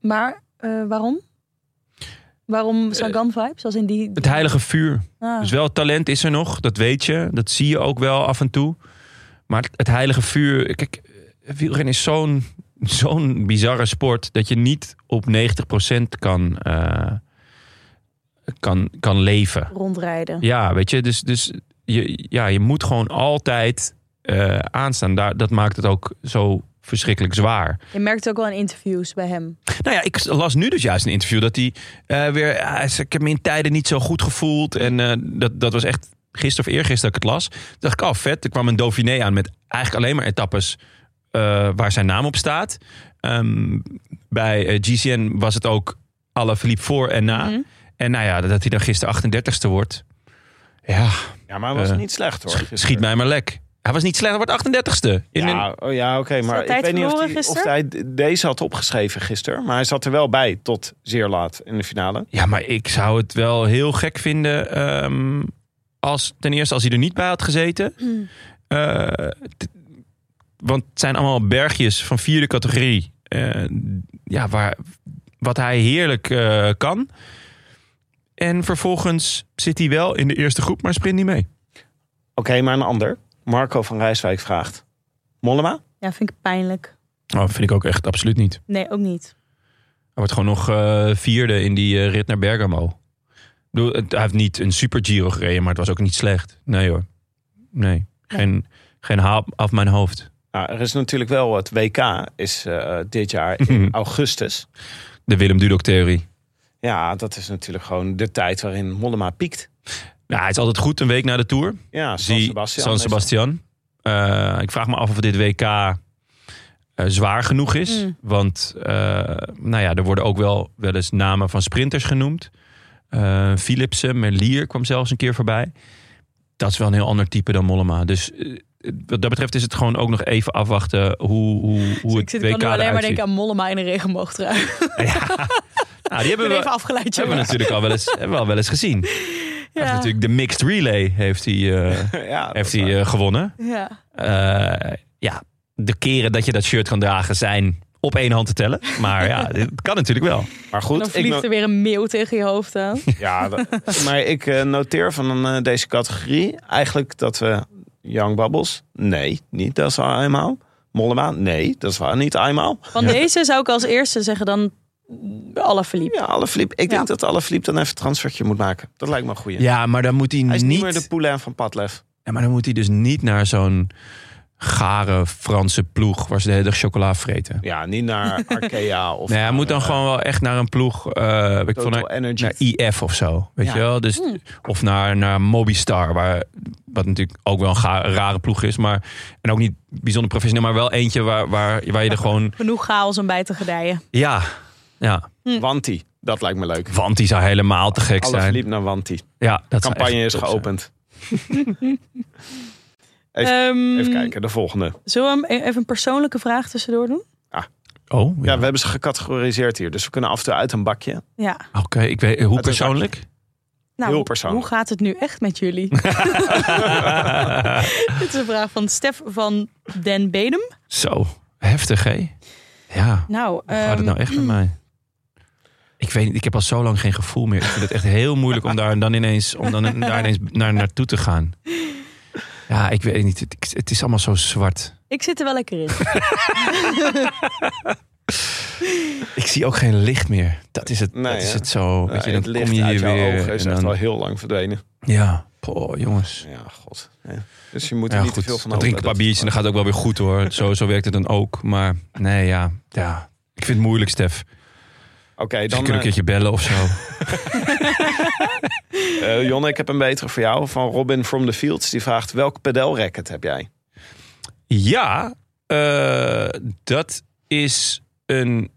S3: Maar eh, waarom? Waarom Sagan vibes? Als in die.
S2: Eh, het heilige vuur.
S3: Ah,
S2: Dus wel talent is er nog, dat weet je. Dat zie je ook wel af en toe. Maar het- het heilige vuur... Kijk, eh, wielrennen is zo'n zo'n bizarre sport... dat je niet op 90% kan, eh, kan, kan leven.
S3: rondrijden.
S2: Ja, weet je, dus, dus je, ja, je moet gewoon altijd eh, aanstaan. Daar, dat maakt het ook zo verschrikkelijk zwaar.
S3: Je merkt het ook wel in interviews bij hem.
S2: Nou ja, ik las nu dus juist een interview dat hij eh, weer. ja, hij zei, ik heb me in tijden niet zo goed gevoeld. En eh, dat, dat was echt gisteren of eergisteren dat ik het las. Toen dacht ik, oh vet. Er kwam een Dauphiné aan met eigenlijk alleen maar etappes eh, waar zijn naam op staat. Ehm, bij eh, GCN was het ook alle verliep voor en na.
S3: Mhm.
S2: En nou ja, dat hij dan gisteren 38ste wordt. Ja,
S4: Ja, maar hij was
S2: Eh,
S4: niet slecht hoor.
S2: sch- schiet mij maar lek. Hij was niet slecht, hij wordt 38ste. In een-
S4: Ja, oh ja oké. maar
S3: tijd
S4: ik weet niet of,
S3: verloren
S4: die- of
S3: gisteren?
S4: hij d- deze had opgeschreven gisteren. Maar hij zat er wel bij tot zeer laat in de finale.
S2: Ja, maar ik zou het wel heel gek vinden. ehm, als, ten eerste als hij er niet bij had gezeten.
S3: Hmm.
S2: Eh, t- want het zijn allemaal bergjes van vierde categorie. Eh, ja, waar, wat hij heerlijk eh, kan. En vervolgens zit hij wel in de eerste groep, maar sprint niet mee.
S4: Oké, maar een ander. Marco van Rijswijk vraagt. Mollema?
S3: Ja, vind ik pijnlijk.
S2: Oh, vind ik ook echt absoluut niet.
S3: Nee, ook niet.
S2: Hij wordt gewoon nog eh, vierde in die eh, rit naar Bergamo. Ik bedoel, het- hij heeft niet een super Giro gereden, maar het was ook niet slecht. Nee hoor. Nee. Geen, geen haal af mijn hoofd.
S4: Nou, er is natuurlijk wel het WK is eh, dit jaar in augustus.
S2: De Willem Dudok-theorie.
S4: Ja, dat is natuurlijk gewoon de tijd waarin Mollema piekt.
S2: Nou, hij is altijd goed een week na de Tour.
S4: Ja, San
S2: Zie
S4: Sebastian.
S2: San
S4: is-
S2: Sebastian. Eh, ik vraag me af of dit WK eh, zwaar genoeg is.
S3: Mm.
S2: Want eh, nou ja, er worden ook wel, wel eens namen van sprinters genoemd. Eh Philipsen, Merlier kwam zelfs een keer voorbij. Dat is wel een heel ander type dan Mollema. Dus eh, wat dat betreft is het gewoon ook nog even afwachten hoe, hoe, hoe
S3: Dus ik
S2: het
S3: zit
S2: WK
S3: ik kan nu alleen maar
S2: eruit ziet.
S3: denken aan Mollema in een regenboogtrui. Ik
S2: Nou, die hebben
S3: ben
S2: we,
S3: even afgeleid,
S2: hebben we
S3: jongen.
S2: natuurlijk al wel eens, hebben we al wel eens gezien. Hij heeft
S3: Ja,
S2: natuurlijk de mixed relay heeft hij, eh,
S4: Ja,
S2: heeft hij eh, gewonnen.
S3: ja.
S2: Eh, ja, de keren dat je dat shirt kan dragen zijn op één hand te tellen. Maar ja, dit kan natuurlijk wel.
S4: eh, maar
S3: Dan
S4: goed, ik,
S3: vliegt er weer een meeuw tegen je hoofd aan.
S4: Ja, dat- maar ik eh, noteer van eh, deze categorie eigenlijk dat we Young Bubbles, nee, niet dat is wel eenmaal. Mollema, nee, dat is wel niet eenmaal.
S3: Van deze zou ik als eerste zeggen dan mm, alle verliep.
S4: Ja, Alaphilippe. Ik denk
S3: Ja.
S4: dat Alaphilippe dan even een transfertje moet maken. Dat lijkt me een goeie.
S2: Ja, maar dan moet hij,
S4: Hij is niet,
S2: niet...
S4: meer de Poulain van Padlef.
S2: Ja, maar dan moet hij dus niet naar zo'n gare Franse ploeg waar ze de hele dag chocola vreten.
S4: Ja, niet naar Arkea of
S2: Nee, hij
S4: naar,
S2: moet dan
S4: eh,
S2: gewoon wel echt naar een ploeg, eh, weet ik,
S4: Total
S2: van naar,
S4: Energy.
S2: naar IF of zo. Weet
S4: Ja. Hmm.
S2: je wel? Dus, Of naar, naar Mobistar, waar, wat natuurlijk ook wel een ga- rare ploeg is. Maar, en ook niet bijzonder professioneel, maar wel eentje waar, waar, waar je er gewoon...
S3: Genoeg chaos om bij te gedijen.
S2: Ja, ja,
S3: Hm.
S4: Wanti. Dat lijkt me leuk.
S2: want die zou helemaal te gek zijn.
S4: Alaphilippe naar Wanti.
S2: Ja, dat
S4: De
S2: zou
S4: campagne
S2: echt
S4: is
S2: top zijn.
S4: geopend. Even-
S3: Ehm,
S4: Even kijken, de volgende.
S3: Zullen we hem e- even een persoonlijke vraag tussendoor doen?
S2: Oh,
S4: Ja,
S2: ja.
S4: we hebben ze gecategoriseerd hier. Dus we kunnen af en toe uit een bakje.
S3: Ja.
S2: Oké, ik weet hoe
S4: Het is
S2: persoonlijk?
S3: Nou,
S4: Heel persoonlijk.
S3: Hoe gaat het nu echt met jullie? Dit is een vraag van Stef van Den Bedem.
S2: Zo, heftig hè? Ja.
S3: Nou,
S2: Hoe gaat het
S3: ehm,
S2: nou echt met mij? Ik weet niet, ik heb al zo lang geen gevoel meer. Ik vind het echt heel moeilijk om daar dan ineens, om dan daar ineens naar, naartoe te gaan. Ja, ik weet niet. Het, ik- het is allemaal zo zwart.
S3: ik zit er wel lekker in.
S2: Ik zie ook geen licht meer. Dat is het,
S4: Nee,
S2: dat is
S4: hè?
S2: het zo.
S4: Ja,
S2: weet je,
S4: het
S2: dan
S4: licht
S2: kom je
S4: uit
S2: hier
S4: jouw
S2: weer.
S4: ogen is
S2: en
S4: echt
S2: dan-
S4: al heel lang verdwenen.
S2: Ja, poh, jongens.
S4: Ja, god. Ja. Dus je moet er
S2: Ja,
S4: niet te
S2: goed.
S4: veel van
S2: dan drink ik een paar biertjes en dan gaat het ook wel weer goed hoor. Zo, zo werkt het dan ook. Maar nee, ja. ja. Ik vind het moeilijk, Stef.
S4: Oké, dan...
S2: Misschien kunnen we een
S4: eh,
S2: keertje bellen of zo.
S4: eh, Jonne, ik heb een betere voor jou. Van Robin from the Fields. Die vraagt, welk pedelracket heb jij?
S2: Ja, eh, dat is een,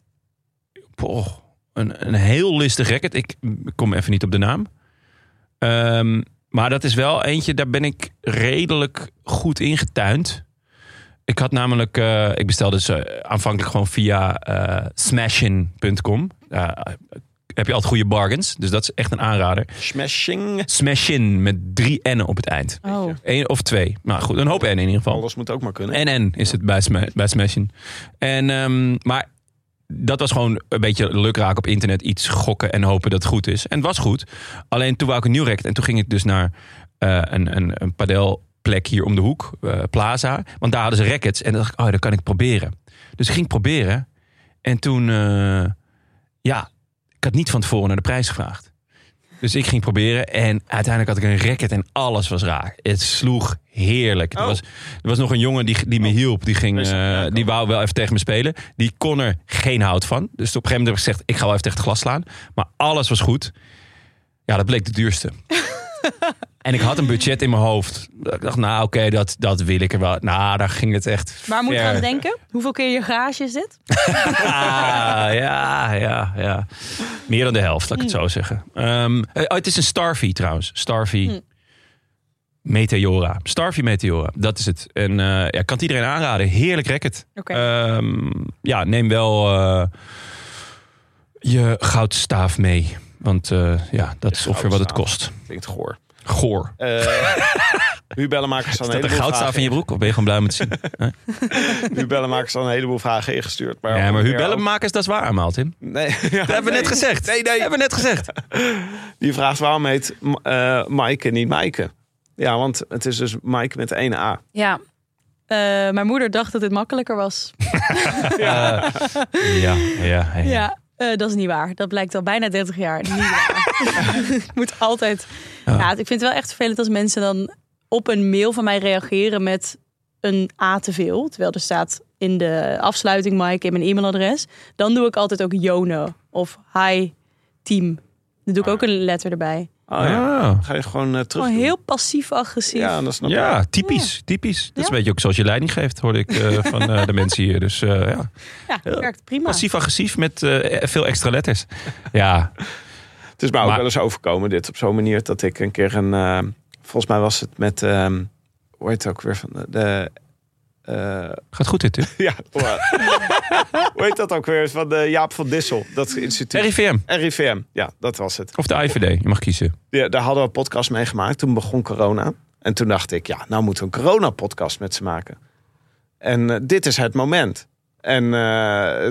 S2: poh, een, een heel listig racket. Ik kom even niet op de naam. Ehm, maar dat is wel eentje, daar ben ik redelijk goed ingetuind. Ik had namelijk, eh, ik bestelde ze aanvankelijk gewoon via eh smashin.com. Eh, heb je altijd goede bargains, dus dat is echt een aanrader.
S4: Smashing.
S2: Smashin met drie N'en op het eind.
S3: Oh.
S2: Eén of twee. Nou goed, een hoop N in ieder geval.
S4: Alles moet ook maar kunnen.
S2: En en is het bij, sma bij Smashin. En, ehm, maar dat was gewoon een beetje lukraak op internet. Iets gokken en hopen dat het goed is. En het was goed. Alleen toen wou ik een nieuw racket. En toen ging ik dus naar eh, een, een, een padelplek hier om de hoek. eh, Plaza. Want daar hadden ze rackets. En dan dacht ik, oh, dat kan ik proberen. Dus ik ging proberen. En toen, eh, ja, ik had niet van tevoren naar de prijs gevraagd. Dus ik ging proberen en uiteindelijk had ik een racket en alles was raar. Het sloeg heerlijk. Er, was, er was nog een jongen die, die me hielp. Die, ging,
S4: Deze, ja,
S2: eh,
S4: ik
S2: die wou wel even tegen me spelen. Die kon er geen hout van. Dus op een gegeven moment heb ik gezegd, ik ga wel even tegen het glas slaan. Maar alles was goed. Ja, dat bleek de duurste. en ik had een budget in mijn hoofd. Ik dacht, nou oké, dat, dat wil ik er wel. Nou, daar ging het echt
S3: Maar moet je
S2: ver.
S3: aan denken? Hoeveel keer je garage is dit?
S2: Ah, ja, ja, ja. Meer dan de helft, laat ik het zo zeggen. Ehm, eh, oh, het is een Starvie trouwens. Starvie Meteora. Starvie Meteora, dat is het. En eh, ja, ik kan het iedereen aanraden. Heerlijk racket.
S3: Oké.
S2: Ehm, ja, neem wel eh, je goudstaaf mee. Want eh, ja, dat is ongeveer wat het kost.
S4: Klinkt goor.
S2: Goor.
S4: Eh Huub Bellemakers had een
S2: Staat er
S4: heleboel
S2: goudstaaf in
S4: vragen
S2: je broek? Of ben je gewoon blij met zien?
S4: in- Huub Bellemakers had een heleboel vragen ingestuurd. Maar
S2: Ja, maar
S4: ongeveer
S2: Huub Bellemakers, dat is waar aanmaal, Tim.
S4: ook- Nee, ja,
S2: Dat hebben we net
S4: nee.
S2: gezegd.
S4: Nee, nee.
S2: Dat hebben we net gezegd.
S4: Die vraagt waarom heet m- eh Maaike niet Maaike? Ja, want het is dus Maaike met 1 A.
S3: Ja. Eh, mijn moeder dacht dat dit makkelijker was.
S2: Ja, ja, ja.
S3: Ja, eh, dat is niet waar. Dat blijkt al bijna 30 jaar. Niet waar. ik moet altijd. Ja. ik vind het wel echt vervelend als mensen dan op een mail van mij reageren met een A te veel. Terwijl er staat in de afsluiting, Mike, in mijn e-mailadres. Dan doe ik altijd ook Jone of Hi Team. Dan doe ik ook een letter erbij.
S4: Oh ja.
S2: Ah.
S4: Ga je gewoon eh, terug
S3: Gewoon
S4: doen.
S3: heel passief-agressief.
S4: Ja, dat snap ik.
S2: Ja, typisch. typisch. Dat is een beetje ook zoals je leiding geeft, hoorde ik eh, van eh, de mensen hier. Dus eh, ja,
S3: Ja, dat werkt prima.
S2: passief-agressief met eh, veel extra letters. Ja,
S4: Het is mij ook
S2: Maar-
S4: wel eens overkomen, dit op zo'n manier, dat ik een keer een eh, Volgens mij was het met, ehm, hoe heet het ook weer? Van de, de, eh,
S2: Gaat goed dit, hè?
S4: ja, hoe heet dat ook weer? Van de Jaap van Dissel, dat instituut.
S2: RIVM
S4: RIVM, ja, dat was het.
S2: of de IVD, je mag kiezen.
S4: Ja, daar hadden we een podcast mee gemaakt. Toen begon corona. En toen dacht ik, ja, nou moeten we een corona-podcast met ze maken. En eh, dit is het moment. En eh,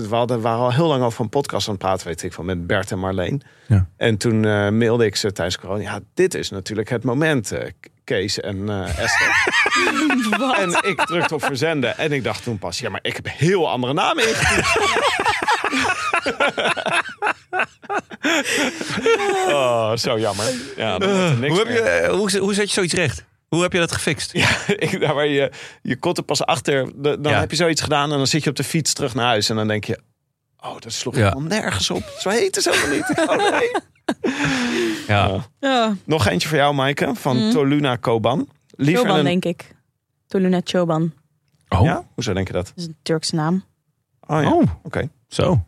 S4: we hadden, waren al heel lang over een podcast aan het praten, weet ik van, met Bert en Marleen.
S2: Ja.
S4: En toen eh, mailde ik ze tijdens corona, ja, dit is natuurlijk het moment, eh, K- Kees en eh, Esther. en ik drukte op verzenden. En ik dacht toen pas, ja, maar ik heb heel andere namen ingetypt. oh, zo jammer. Ja, dan wordt er niks
S2: Hoe, heb
S4: meer.
S2: je, eh, hoe, hoe zet je zoiets recht? Hoe heb je dat gefixt?
S4: Ja, ik, daar waar je je kot er pas achter. de- dan
S2: Ja.
S4: heb je zoiets gedaan en dan zit je op de fiets terug naar huis. En dan denk je, oh, dat sloeg
S2: Ja.
S4: helemaal nergens op. Zo heet het helemaal niet. Oh, nee.
S2: Ja.
S3: Ja,
S4: Nog eentje voor jou, Maaike, van
S3: Mm.
S4: Toluna Koban. Liever
S3: Choban,
S4: een...
S3: denk ik. Toluna Choban.
S2: Oh,
S4: Ja? Hoezo denk je dat?
S3: Dat is een Turkse naam.
S4: Oh, ja.
S2: Oh.
S4: Oké.
S2: zo.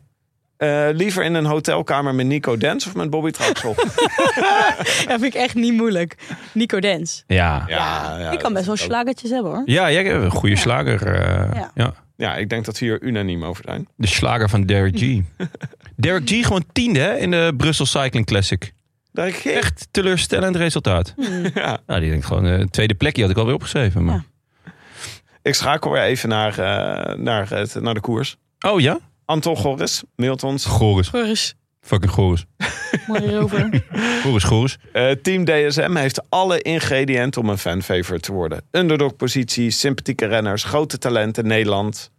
S4: Eh, liever in een hotelkamer met Nico Dens of met Bobby Traxel?
S3: Dat vind ik echt niet moeilijk. Nico Dens.
S2: Ja.
S4: ja, ja,
S3: ik kan best wel
S4: dat-
S3: slagertjes hebben hoor.
S2: Ja, jij hebt een goede slager. eh,
S3: Ja.
S2: ja.
S4: Ja, ik denk dat we hier unaniem over zijn.
S2: De slager van Derek G. Derek G gewoon tiende hè, in de Brussel Cycling Classic.
S4: Daar ik
S2: Echt teleurstellend resultaat.
S3: Hmm.
S4: Ja.
S2: Nou, die denkt gewoon, eh tweede plekje had ik alweer opgeschreven. Maar...
S4: Ik schakel weer even naar, eh, naar, het, naar de koers.
S2: Oh ja?
S4: Anton Goris mailt ons.
S2: Goris.
S3: Goris.
S2: Fucking Goris.
S3: Mooi erover.
S2: Goris, Goris.
S4: Eh, Team DSM heeft alle ingrediënten om een fanfavorite te worden. Underdog-positie, sympathieke renners, grote talenten, Nederland.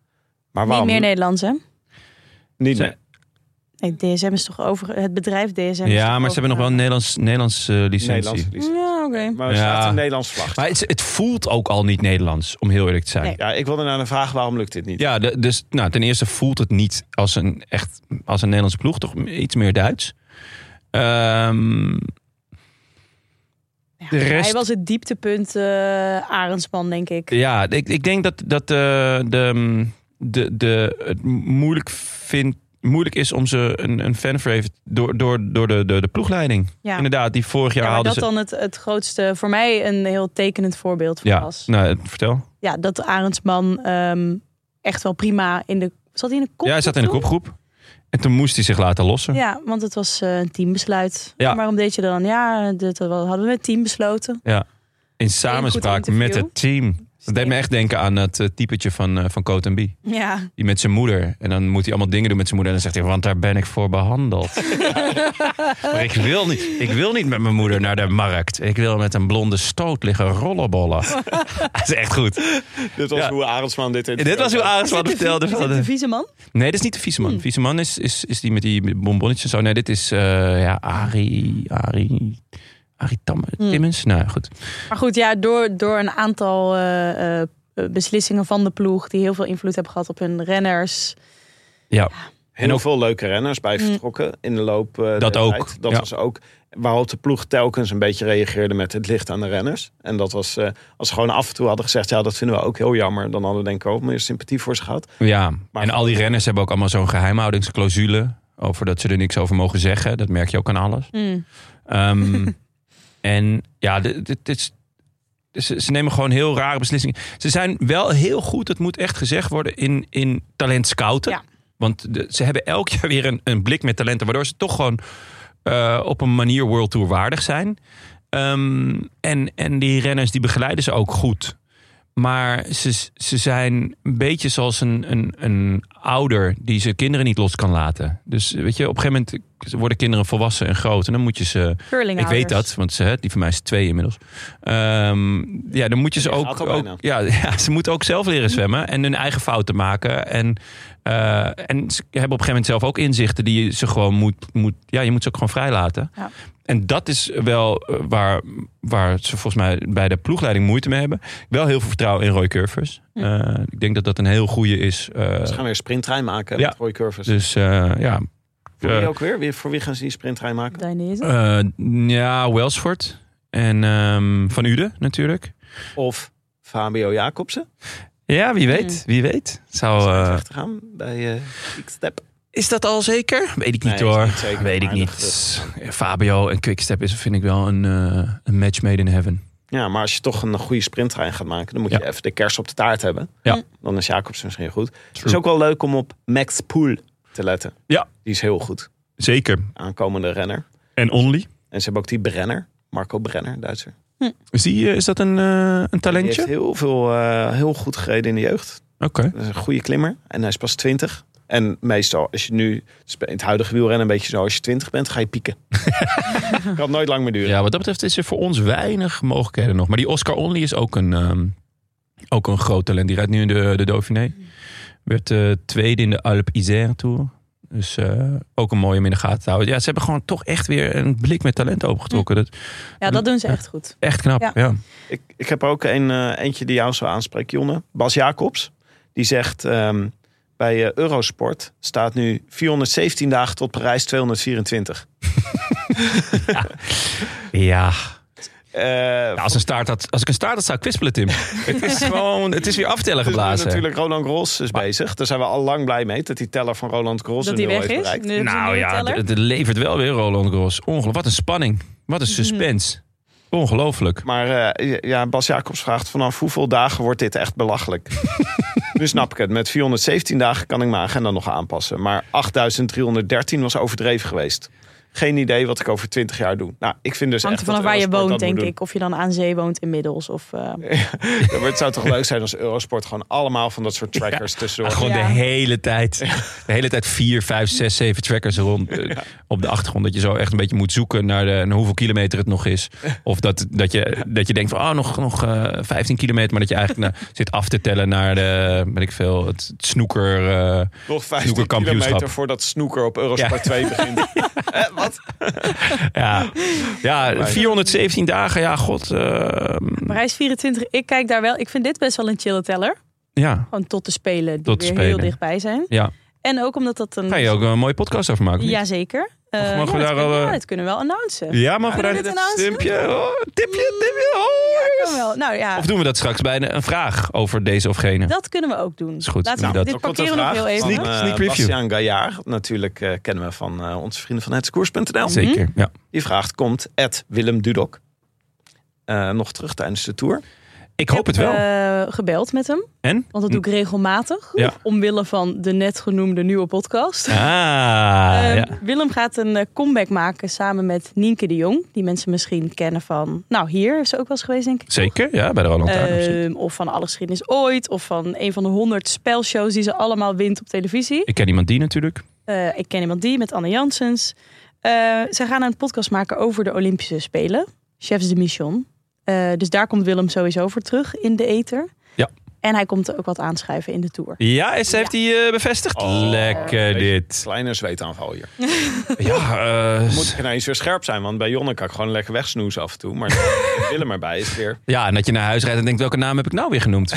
S4: Maar
S3: niet
S4: waarom
S3: meer Nederlands hè?
S4: niet meer?
S2: Ze-
S3: Nee, DSM is toch over... Het bedrijf DSM is
S2: Ja,
S3: toch
S2: maar ze hebben nog wel een Nederlands, Nederlands eh,
S4: Nederlands.
S2: licentie.
S4: licentie.
S3: Ja, oké.
S4: Maar er
S2: Ja.
S4: staat een Nederlands vlag.
S2: Maar het, het voelt ook al niet Nederlands, om heel eerlijk te zijn.
S3: Nee.
S4: Ja, ik wilde naar de vraag, waarom lukt dit niet?
S2: Ja, de- dus nou, ten eerste voelt het niet als een, echt, als een Nederlandse ploeg. Toch iets meer Duits. Ehm, de rest
S3: Hij was het dieptepunt eh Arendsman, denk ik.
S2: Ja, ik, ik denk dat, dat eh, de, de, de, het moeilijk, vind, moeilijk is om ze een, een fanfave door, door, door de, de, de ploegleiding.
S3: Ja.
S2: Inderdaad, die vorig jaar
S3: Ja, maar
S2: hadden
S3: dat
S2: ze.
S3: dan het, het grootste, voor mij een heel tekenend voorbeeld van
S2: ja,
S3: was.
S2: nou, vertel.
S3: Ja, dat Arendsman ehm, echt wel prima in de... Zat hij in de kop?
S2: Ja, hij zat in de kopgroep. En toen moest hij zich laten lossen.
S3: Ja, want het was eh, een teambesluit.
S2: Ja.
S3: Maar Waarom deed je dat dan? Ja, dit hadden we met team besloten.
S2: In samenspraak
S3: interview.
S2: met het team. Dat deed me echt denken aan het eh, typetje van, eh, van Cote B.
S3: Ja,
S2: Die met zijn moeder. En dan moet hij allemaal dingen doen met zijn moeder. En dan zegt hij, want daar ben ik voor behandeld. maar ik wil, niet, ik wil niet met mijn moeder naar de markt. Ik wil met een blonde stoot liggen rollenbollen. dat is echt goed.
S4: Dit was
S2: Ja.
S4: hoe Arendsman dit in.
S2: Dit was hoe Aris wat vertelde.
S3: is
S2: Van
S3: het
S2: de-
S3: de vieze man?
S2: Nee, dat is niet de vieze man. De vieze man is, is, is die met die bonbonnetjes en zo. Nee, dit is eh ja, Ari... Ari... Ari Tam, Timmins? Nou, goed.
S3: Maar goed, ja, door, door een aantal eh, eh, beslissingen van de ploeg... die heel veel invloed hebben gehad op hun renners...
S2: Ja,
S4: Heel veel leuke renners bij
S3: Mm.
S4: vertrokken in de loop. eh,
S2: Dat
S4: der
S2: ook,
S4: tijd. Dat
S2: ja.
S4: was ook waarop de ploeg telkens een beetje reageerde met het licht aan de renners. En dat was, eh, als ze gewoon af en toe hadden gezegd, ja, dat vinden we ook heel jammer. Dan hadden we denk ik ook meer sympathie voor ze gehad.
S2: Ja,
S4: Maar-
S2: en al die renners hebben ook allemaal zo'n geheimhoudingsclausule. Over dat ze er niks over mogen zeggen. Dat merk je ook aan alles.
S3: Mm.
S2: Ehm, en ja, dit, dit- dit is, ze, ze nemen gewoon heel rare beslissingen. Ze zijn wel heel goed, dat moet echt gezegd worden, in, in talent scouten.
S3: Ja.
S2: Want de- ze hebben elk jaar weer een, een blik met talenten. Waardoor ze toch gewoon eh, op een manier World Tour waardig zijn. Ehm, en, en die renners die begeleiden ze ook goed. Maar ze, ze zijn een beetje zoals een, een, een ouder die zijn kinderen niet los kan laten. Dus weet je, op een gegeven moment worden kinderen volwassen en groot. En dan moet je ze. Ik
S3: Curlingouders.
S2: weet dat, want ze, hè, die van mij is twee inmiddels. Ehm, ja, dan moet je ze
S4: Die
S2: ook.
S4: gaat al bijna.
S2: ook ja, ja, ze moeten ook zelf leren zwemmen en hun eigen fouten maken. En, eh, en ze hebben op een gegeven moment zelf ook inzichten die je ze gewoon moet. moet ja, je moet ze ook gewoon vrijlaten.
S3: Ja.
S2: En dat is wel eh, waar, waar ze volgens mij bij de ploegleiding moeite mee hebben. Wel heel veel vertrouwen in Roy Curvers. Eh, ik denk dat dat een heel goede is. eh,
S4: Ze gaan weer een sprinttrein maken
S2: Ja.
S4: met Roy Curvers.
S2: dus eh, ja.
S4: Voor wie
S2: eh,
S4: ook weer? Wie- Voor wie gaan ze die sprinttrein maken?
S3: Dainese.
S2: eh, ja, Welsford. En ehm, Van Uden natuurlijk.
S4: Of Fabio Jacobsen?
S2: Ja, wie weet. Wie weet. Zou, eh,
S4: terug te gaan bij ik step
S2: is dat al zeker? Weet ik niet
S4: Nee, is
S2: hoor.
S4: niet zeker,
S2: weet ik
S4: maar
S2: niet.
S4: dat
S2: Fabio en Quickstep is vind ik wel een, eh, een eh, match made in heaven.
S4: Ja, maar als je toch een goede sprinttrein gaat maken, dan moet
S2: Ja.
S4: je even de kers op de taart hebben.
S2: Ja.
S4: Dan is Jacobs misschien goed. Het is ook wel leuk om op Max Poel te letten.
S2: Ja.
S4: Die is heel goed.
S2: Zeker.
S4: Aankomende renner.
S2: En Only.
S4: En ze hebben ook die Brenner. Marco Brenner, Duitser.
S2: Is, die, eh, is dat een, eh, een
S4: Die
S2: talentje?
S4: heeft heel, veel, eh, heel goed gereden in de jeugd.
S2: Oké.
S4: Dat is een goede klimmer. En hij is pas 20. En meestal, als je nu in het huidige wielrennen een beetje zo, als je 20 bent, ga je pieken. kan het nooit lang meer duren.
S2: Ja, wat dat betreft is er voor ons weinig mogelijkheden nog. Maar die Oscar Only is ook een, ehm, ook een groot talent. Die rijdt nu in de, de Dauphiné. Werd eh, tweede in de Alpe Isère Tour. Dus eh, ook een mooie om in de gaten te houden. Ja, ze hebben gewoon toch echt weer een blik met talent opengetrokken. Dat is
S3: Ja, dat doen ze echt goed.
S2: echt knap. Ja.
S3: Ja.
S4: Ik, ik heb er ook een, eh, eentje die jou zou aanspreken, Jonne. Bas Jacobs. Die zegt, ehm, bij eh, Eurosport staat nu 417 dagen tot Parijs 224.
S2: Ja.
S4: Eh,
S2: Ja, als, een staart had, als ik een staart had, zou ik kwispelen, Tim. het is gewoon, het is weer aftellen
S4: Dus nu
S2: geblazen.
S4: natuurlijk Roland Gros is bezig. Daar zijn we al lang blij mee dat die teller van Roland Gros
S3: Dat
S4: de
S3: die
S4: nul
S3: weg
S4: heeft
S3: is.
S4: bereikt.
S3: Nu hebben ze een
S2: Nou
S3: nieuwe
S2: ja,
S3: teller.
S2: het, het levert wel weer Roland Gros. Ongelooflijk. Wat een spanning. Wat
S3: Mhm.
S2: een suspense. Ongelooflijk.
S4: Maar eh, ja, Bas Jacobs vraagt vanaf hoeveel dagen wordt dit echt belachelijk? nu snap ik het. Met 417 dagen kan ik mijn agenda nog aanpassen. Maar 8313 was overdreven geweest. Geen idee wat ik over 20 jaar doe. Nou, ik vind dus
S3: hangt er
S4: echt
S3: vanaf
S4: dat
S3: waar je
S4: Eurosport
S3: woont,
S4: dat moet
S3: denk ik. Of je dan aan zee woont inmiddels. Of, eh,
S4: doen. Ja, maar het zou toch leuk zijn als Eurosport gewoon allemaal van dat soort trackers tussendoor.
S2: Gewoon
S3: Ja.
S2: de hele tijd. De hele tijd vier, vijf, zes, zeven trackers rond eh, op de achtergrond. Dat je zo echt een beetje moet zoeken naar, de, naar hoeveel kilometer het nog is. Of dat, dat, je, dat je denkt van, oh, nog, nog eh, 15 kilometer. Maar dat je eigenlijk nou, zit af te tellen naar de, weet ik veel, het, het snoeker. eh,
S4: Nog 15
S2: snoekerkampioenschap.
S4: kilometer voordat snoeker op Eurosport 2 begint. Eh, wat?
S2: ja. ja, 417 dagen. Ja, god. eh,
S3: Parijs 24, ik kijk daar wel. Ik vind dit best wel een chille teller.
S2: ja,
S3: Gewoon tot de Spelen, die
S2: Tot de
S3: weer heel
S2: Spelen.
S3: dichtbij zijn.
S2: ja.
S3: En ook omdat dat een...
S2: Ga je ook een mooie podcast over maken? of niet?
S3: Jazeker. Eh,
S2: Mogen we
S3: ja,
S2: daar
S3: dat kunnen-
S2: al, eh,
S3: ja, dat kunnen we wel announcen.
S2: Ja, maar
S3: Kunnen we
S2: vooruit
S3: dit
S2: een
S3: announcen? Mm.
S2: tipje. Oh, tipje, tipje. Oh, yes.
S3: Ja, kan wel. Nou ja,
S2: Of doen we dat straks bij een, een vraag over deze of gene?
S3: dat kunnen we ook doen.
S2: Is goed.
S3: Laten we
S2: Nou, dat-
S3: dit
S4: Er komt een
S3: parkeren nog
S4: vraag
S3: heel even.
S4: van, eh,
S2: Sneak preview.
S4: Bastiaan Gaillard. Natuurlijk eh, kennen we van eh, onze vrienden van
S3: Mhm.
S4: hetskoers.nl.
S2: Zeker, ja.
S4: Die vraagt, komt Ed Willem Dudok eh, nog terug tijdens de Tour?
S2: Ik hoop het
S3: heb,
S2: wel.
S3: eh, gebeld met hem.
S2: en?
S3: Want dat doe ik regelmatig.
S2: Ja.
S3: Omwille van de net genoemde nieuwe podcast.
S2: Ah,
S3: Ehm,
S2: ja.
S3: Willem gaat een eh, comeback maken samen met Nienke de Jong. Die mensen misschien kennen van... Nou, hier is ze ook wel eens geweest, denk ik.
S2: Zeker, ja, bij de Roland Tuiners.
S3: Ehm, of van Alle Geschiedenis Ooit. Of van een van de honderd spelshows die ze allemaal wint op televisie.
S2: Ik ken iemand die natuurlijk.
S3: Eh, ik ken iemand die met Anne Janssens. Eh, zij gaan een podcast maken over de Olympische Spelen. Chefs de Mission. Eh, dus daar komt Willem sowieso voor terug in de ether.
S2: Ja.
S3: En hij komt er ook wat aanschuiven in de Tour.
S2: Ja, is, heeft hij eh, bevestigd? Lekker dit.
S4: Kleine zweetaanval hier.
S2: Ja, eh,
S4: Moet ik ineens weer scherp zijn, want bij Jonne kan ik gewoon lekker wegsnoezen af en toe. Maar met Willem erbij is weer...
S2: ja, en dat je naar huis rijdt en denkt, welke naam heb ik nou weer genoemd?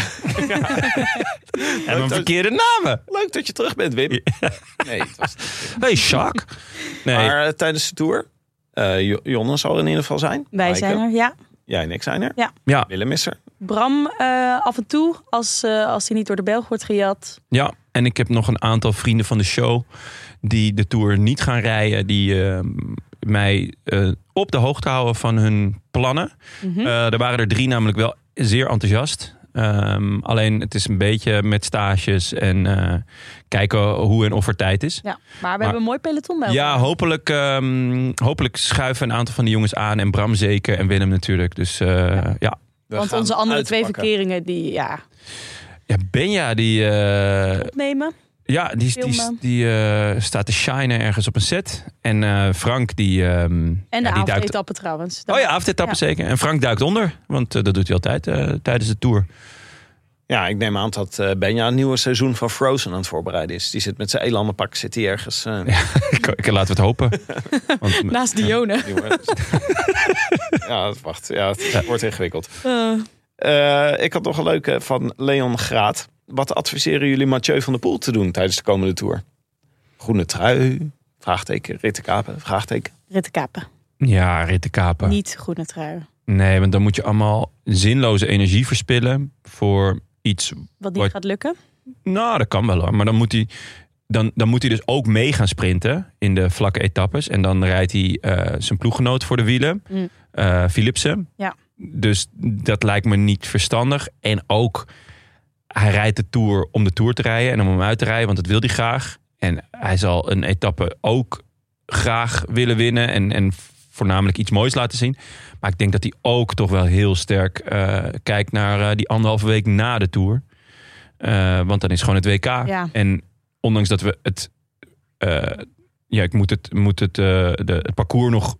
S2: en een verkeerde namen.
S4: Leuk dat je terug bent, Wim. Nee, het was niet.
S2: Nee, Jacques. Nee,
S4: Maar eh, tijdens de Tour... eh, Jo- Jonne zal er in ieder geval zijn.
S3: Wij
S4: Maaike,
S3: zijn er, ja.
S4: Jij en ik zijn er.
S2: ja,
S4: Willem is er.
S3: Bram eh, af en toe, als, eh, als hij niet door de Belg wordt gejat.
S2: ja. En ik heb nog een aantal vrienden van de show die de Tour niet gaan rijden. Die eh, mij eh, op de hoogte houden van hun plannen.
S3: Mhm.
S2: Eh, er waren er drie namelijk wel zeer enthousiast. Ehm, alleen het is een beetje met stages en eh, kijken hoe en of er tijd is.
S3: ja. Maar we hebben een mooi peloton bij
S2: Ja,
S3: elkaar.
S2: hopelijk, ehm, hopelijk schuiven een aantal van de jongens aan. En Bram zeker en Willem natuurlijk. Dus eh, ja.
S4: We
S3: Want
S4: gaan
S3: onze andere twee
S4: uitpakken.
S3: verkeringen, die ja,
S2: ja, Benja die, eh,
S3: opnemen.
S2: ja, die, die,
S3: Filmen.
S2: die eh, staat te shinen ergens op een set. En eh, Frank die... ehm,
S3: En de
S2: ja, die duikt,
S3: avondetappe trouwens.
S2: Oh ja, avondetappen
S3: Ja.
S2: zeker. En Frank duikt onder. Want eh, dat doet hij altijd eh, tijdens de Tour.
S4: Ja, ik neem aan dat eh, Benja een nieuwe seizoen van Frozen aan het voorbereiden is. Die zit met zijn elandenpak, zit hij ergens... eh,
S2: Ik- ik- Laten we het hopen. Want,
S3: Naast Dione.
S4: Jongen. ja, wacht. Ja, het wordt ingewikkeld.
S3: Eh,
S4: Eh, ik had nog een leuke van Leon Graat. Wat adviseren jullie Mathieu van der Poel te doen tijdens de komende Tour? Groene trui? Vraagteken. Rittenkapen? Vraagteken.
S3: Ritten Kapen.
S2: Ja, ritten kapen.
S3: Niet groene trui.
S2: Nee, want dan moet je allemaal zinloze energie verspillen voor iets.
S3: Wat niet
S2: Wat-
S3: gaat lukken.
S2: Nou, dat kan wel hoor. Maar dan moet hij, dan, dan moet hij dus ook mee gaan sprinten in de vlakke etappes. En dan rijdt hij eh, zijn ploeggenoot voor de wielen,
S3: Mm.
S2: eh, Philipsen.
S3: Ja.
S2: Dus dat lijkt me niet verstandig. En ook, hij rijdt de Tour om de Tour te rijden en om hem uit te rijden, want dat wil hij graag. En hij zal een etappe ook graag willen winnen en, en voornamelijk iets moois laten zien. Maar ik denk dat hij ook toch wel heel sterk eh, kijkt naar eh, die anderhalve week na de Tour. Eh, want dan is gewoon het WK.
S3: Ja.
S2: En ondanks dat we het... eh, ja, ik moet het, moet het, eh, de, het parcours nog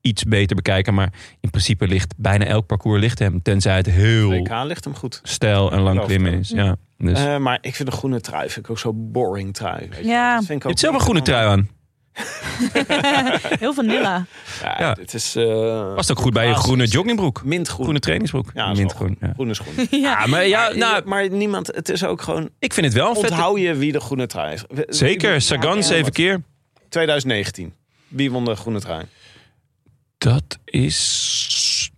S2: iets beter bekijken. Maar in principe ligt bijna elk parcours ligt hem. Tenzij het heel
S4: WK ligt hem goed.
S2: stijl en lang
S4: Geloof ik
S2: klimmen
S4: ook.
S2: is. Ja. Dus.
S4: Eh, maar ik vind de groene trui vind ik ook zo boring trui. Weet je.
S3: Ja.
S4: Dat vind ik ook
S2: je hebt zelf een groene trui aan.
S3: Heel vanilla.
S4: Ja,
S2: Ja.
S4: Het is eh,
S2: Past ook goed bij je
S4: basis.
S2: groene joggingbroek.
S4: mintgroen.
S2: Groene trainingsbroek.
S4: Ja, dat is wel
S2: Mintgroen. Ja.
S4: Groene schoenen.
S2: Ja, maar ja,
S4: nou,
S2: nou,
S4: maar niemand, het is ook gewoon.
S2: ik vind het wel een vette...
S4: Onthoud je wie de groene trui heeft? We-
S2: Zeker,
S4: wie-
S2: Sagan zeven keer.
S4: 2019. Wie won de groene trui?
S2: Dat is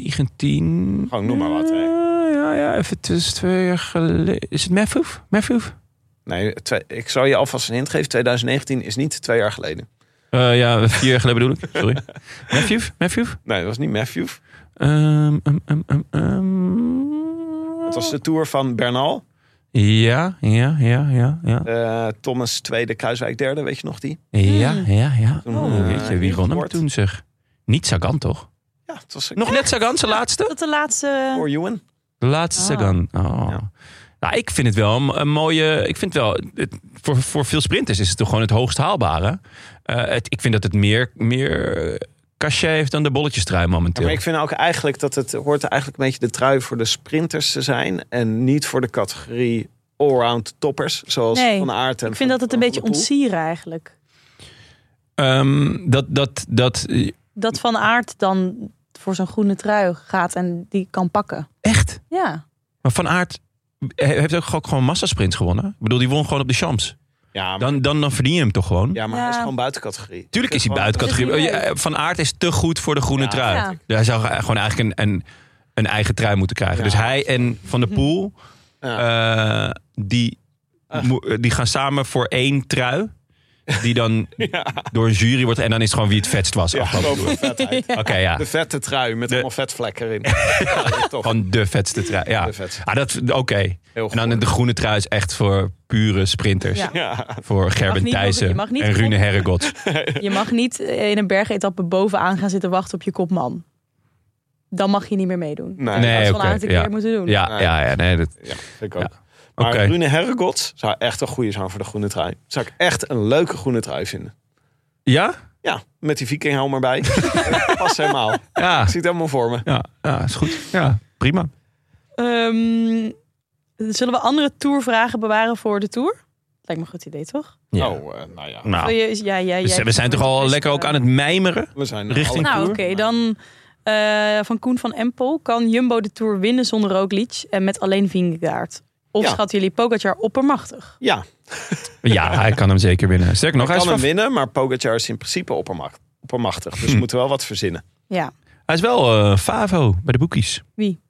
S2: 2019.
S4: Gewoon noem maar wat, hè.
S2: Ja, Eh, ja, ja, even het is twee jaar geleden. Is het Matthews? Matthews?
S4: Nee, twee- ik zou je alvast een hint geven. 2019 is niet twee jaar geleden.
S2: Eh, ja, vier jaar geleden bedoel ik. Sorry. Matthews? Matthews?
S4: Nee, dat was niet Matthew.
S2: Ehm, ehm, ehm, ehm, ehm.
S4: Het was de tour van Bernal.
S2: Ja, ja, ja, ja, ja.
S4: Eh, Thomas tweede, Kruiswijk derde, weet je nog die?
S2: Ja, ja,
S4: Hmm.
S2: ja.
S4: Toen,
S2: Oh,
S4: eh,
S2: weet je, wie won hem
S4: gescoord.
S2: toen zeg? Niet Sagan toch?
S4: Ja, het was
S2: Nog net Sagan, zijn laatste?
S3: Dat de laatste...
S4: voor Ewan.
S2: De laatste
S3: Ah.
S2: Sagan. Oh.
S4: Ja.
S2: Nou, ik vind het wel een, een mooie. Ik vind het wel. Het, voor, voor veel sprinters is het toch gewoon het hoogst haalbare. Eh, het, ik vind dat het meer, meer eh, cachet heeft dan de bolletjestrui
S4: Ja,
S2: momenteel.
S4: maar ik vind ook eigenlijk dat het hoort eigenlijk een beetje de trui voor de sprinters te zijn. En niet voor de categorie allround toppers. Zoals
S3: Nee,
S4: Van Aert en
S3: Ik vind
S4: Van-
S3: dat het een
S4: Van
S3: beetje
S4: der Poel.
S3: ontsieren eigenlijk.
S2: Ehm, dat, dat, dat, eh,
S3: Dat Van Aert dan voor zo'n groene trui gaat en die kan pakken.
S2: echt.
S3: Ja.
S2: Maar Van Aert heeft ook gewoon- gewoon massasprints gewonnen. Ik bedoel, die won gewoon op de champs.
S4: Ja, maar,
S2: Dan, dan, dan verdien je hem toch gewoon.
S4: ja, maar hij is
S3: Ja.
S4: gewoon buiten categorie.
S2: Tuurlijk is hij
S4: Gewoon-
S2: buiten categorie.
S3: Dat is niet
S2: Oh, ja, Van Aard is te goed voor de groene
S4: Ja,
S2: trui. Dus
S3: ja.
S2: Hij zou gewoon eigenlijk een, een, een eigen trui moeten krijgen.
S4: Ja.
S2: Dus hij en Van der Poel,
S4: Ja.
S2: eh, die, mo- eh, die gaan samen voor één trui. Die dan door een jury wordt. En dan is het gewoon wie het vetst was.
S4: Ja,
S2: afgelopen
S4: gewoon
S2: toer.
S4: voor vetheid.
S2: Oké, ja.
S4: De vette trui met allemaal vetvlekken erin. Ja, dat is tof.
S2: Van de vetste trui. Ja,
S4: De vetste.
S2: Ah, dat oké.
S4: Heel
S2: En dan
S4: goed.
S2: de groene trui is echt voor pure sprinters.
S3: Ja.
S4: Ja,
S2: Voor
S3: mag
S2: Gerben
S3: niet- je
S2: Thijssen
S3: mag niet
S2: en
S3: op-
S2: Rune Herregods.
S3: Je mag niet in een bergetappe bovenaan gaan zitten wachten op je kopman. Dan mag je niet meer meedoen.
S4: nee,
S2: Nee,
S3: Dat is Van
S2: oké,
S3: Aert een
S2: ja.
S3: keer moeten doen.
S2: Ja,
S4: Nee.
S2: ja, ja. Nee, dat,
S4: ja, vind ik ook.
S2: Ja.
S4: Maar
S2: Oké.
S4: Rune Herregods zou echt een goede zijn voor de groene trui. Zou ik echt een leuke groene trui vinden.
S2: ja?
S4: Ja, met die vikinghelm erbij. Pas helemaal. Ik
S2: Ja.
S4: zie het helemaal voor me.
S2: Ja, ja, is goed. Ja, prima.
S3: Ehm, zullen we andere tourvragen bewaren voor de tour? Lijkt me een goed idee, toch?
S2: Ja.
S4: Oh, eh, nou ja.
S2: Nou,
S3: Wil je- ja, ja,
S2: we zijn- we zijn toch al lekker
S3: eh,
S2: ook aan het mijmeren?
S4: We zijn eh,
S2: Richting
S4: alle-
S3: Nou, oké,
S2: Tour?
S3: dan eh, van Koen van Empel. Kan Jumbo de Tour winnen zonder Roglic en met alleen Vingegaard? Of
S4: Ja.
S3: schatten jullie Pogacar oppermachtig?
S4: Ja,
S2: Ja, hij kan hem zeker winnen. Sterker nog,
S4: hij
S2: hij is,
S4: kan hem
S2: wel,
S4: winnen, maar Pogacar is in principe oppermacht, oppermachtig.
S2: Hm.
S4: Dus we moeten wel wat verzinnen.
S3: Ja.
S2: hij is wel eh, Favo bij de boekies.
S3: Wie?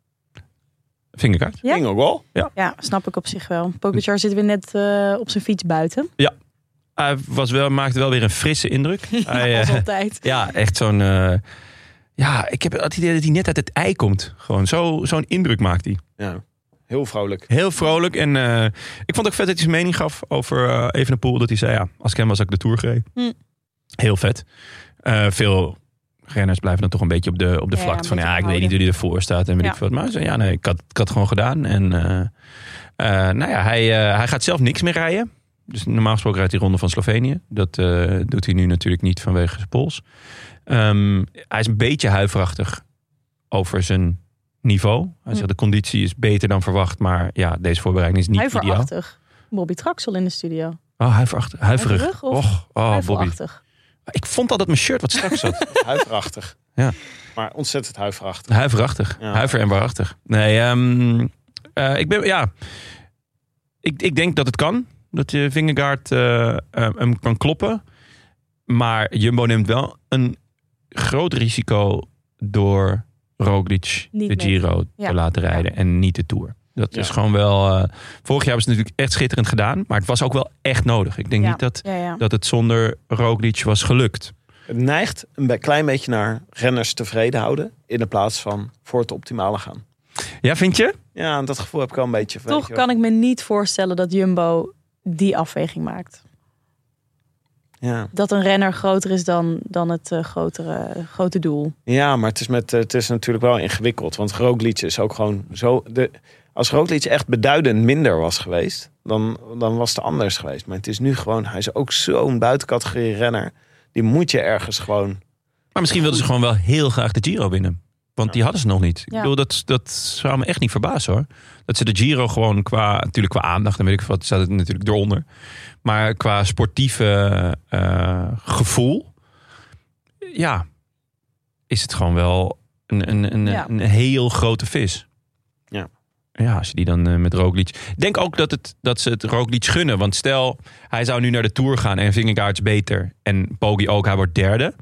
S2: Vingerkaart.
S3: Ja?
S4: Ging ook wel.
S3: ja, snap ik op zich wel. Pogacar zit weer net eh, op zijn fiets buiten,
S2: Hij was wel, maakte wel weer een frisse indruk. Hij, eh,
S3: als altijd.
S2: ja, echt zo'n... eh, ja, ik heb het idee dat hij net uit het ei komt. Gewoon zo- zo'n indruk maakt hij.
S4: Ja, heel vrolijk.
S2: Heel vrolijk. En eh, ik vond ook vet dat hij zijn mening gaf over eh Evenepoel. Dat hij zei, ja, als ik hem was, had ik de Tour gereden.
S3: Hm.
S2: Heel vet. Eh, veel renners blijven dan toch een beetje op de, op de
S3: Ja,
S2: vlakte
S3: een
S2: van...
S3: beetje
S2: Ja, ik weet
S3: houden.
S2: niet hoe hij ervoor staat en weet
S3: Ja.
S2: ik wat. Maar hij zei, ja, nee, ik had, ik had het gewoon gedaan. En eh, eh, nou ja, hij, eh, hij gaat zelf niks meer rijden. Dus normaal gesproken rijdt hij Ronde van Slovenië. Dat eh, doet hij nu natuurlijk niet vanwege zijn pols. Ehm, hij is een beetje huiverachtig over zijn niveau. Hij
S3: Hm.
S2: zegt de conditie is beter dan verwacht, maar ja, deze voorbereiding is niet
S3: Hij
S2: ideaal.
S3: verachtig. Bobby Traxel in de studio.
S2: Oh, huiverachtig. Huiverig.
S3: Huiverig of
S2: Och, oh,
S3: Hij
S2: Bobby.
S3: verachtig.
S2: Ik vond al dat mijn shirt wat strak zat.
S4: Huiverachtig.
S2: Ja.
S4: Maar ontzettend huiverachtig.
S2: huiverachtig.
S4: Ja.
S2: Huiver en waarachtig. Nee, ehm, eh, ik ben, ja. Ik, ik denk dat het kan. Dat je Vingegaard eh, eh, hem kan kloppen. Maar Jumbo neemt wel een groot risico door Roglic
S3: Niet
S2: de
S3: mee.
S2: Giro
S3: Ja.
S2: te laten rijden en niet de Tour. Dat is gewoon wel... eh, vorig jaar was het natuurlijk echt schitterend gedaan. Maar het was ook wel echt nodig. Ik denk
S3: Ja.
S2: niet dat
S3: Ja, ja.
S2: dat het zonder Roglic was gelukt.
S4: Het neigt een be- klein beetje naar renners tevreden houden. In de plaats van voor het optimale gaan.
S2: Ja, vind je?
S4: Ja, en dat gevoel heb ik al een beetje. weet
S3: Toch
S4: je wel.
S3: kan ik me niet voorstellen dat Jumbo die afweging maakt.
S4: Ja.
S3: Dat een renner groter is dan, dan het eh, grotere, grote doel.
S4: ja, maar het is, met, eh, het is natuurlijk wel ingewikkeld. Want Roglic is ook gewoon zo... De, als Roglic echt beduidend minder was geweest... Dan, dan was het anders geweest. Maar het is nu gewoon... Hij is ook zo'n buitencategorie renner. Die moet je ergens gewoon...
S2: Maar misschien wilden ze gewoon wel heel graag de Giro winnen. Want die hadden ze nog niet. Ik
S3: Ja.
S2: bedoel, dat, dat zou me echt niet verbazen hoor. Dat ze de Giro gewoon qua, natuurlijk qua aandacht, dan weet ik wat, staat het natuurlijk eronder. Maar qua sportieve eh, gevoel, ja, is het gewoon wel een, een, een,
S3: Ja.
S2: een heel grote vis.
S4: Ja.
S2: Ja, als je die dan eh, met Roglic... Ik Denk ook dat, het, dat ze het Roglic gunnen. Want stel, hij zou nu naar de Tour gaan en Vingegaard is beter. En Poggi ook, hij wordt derde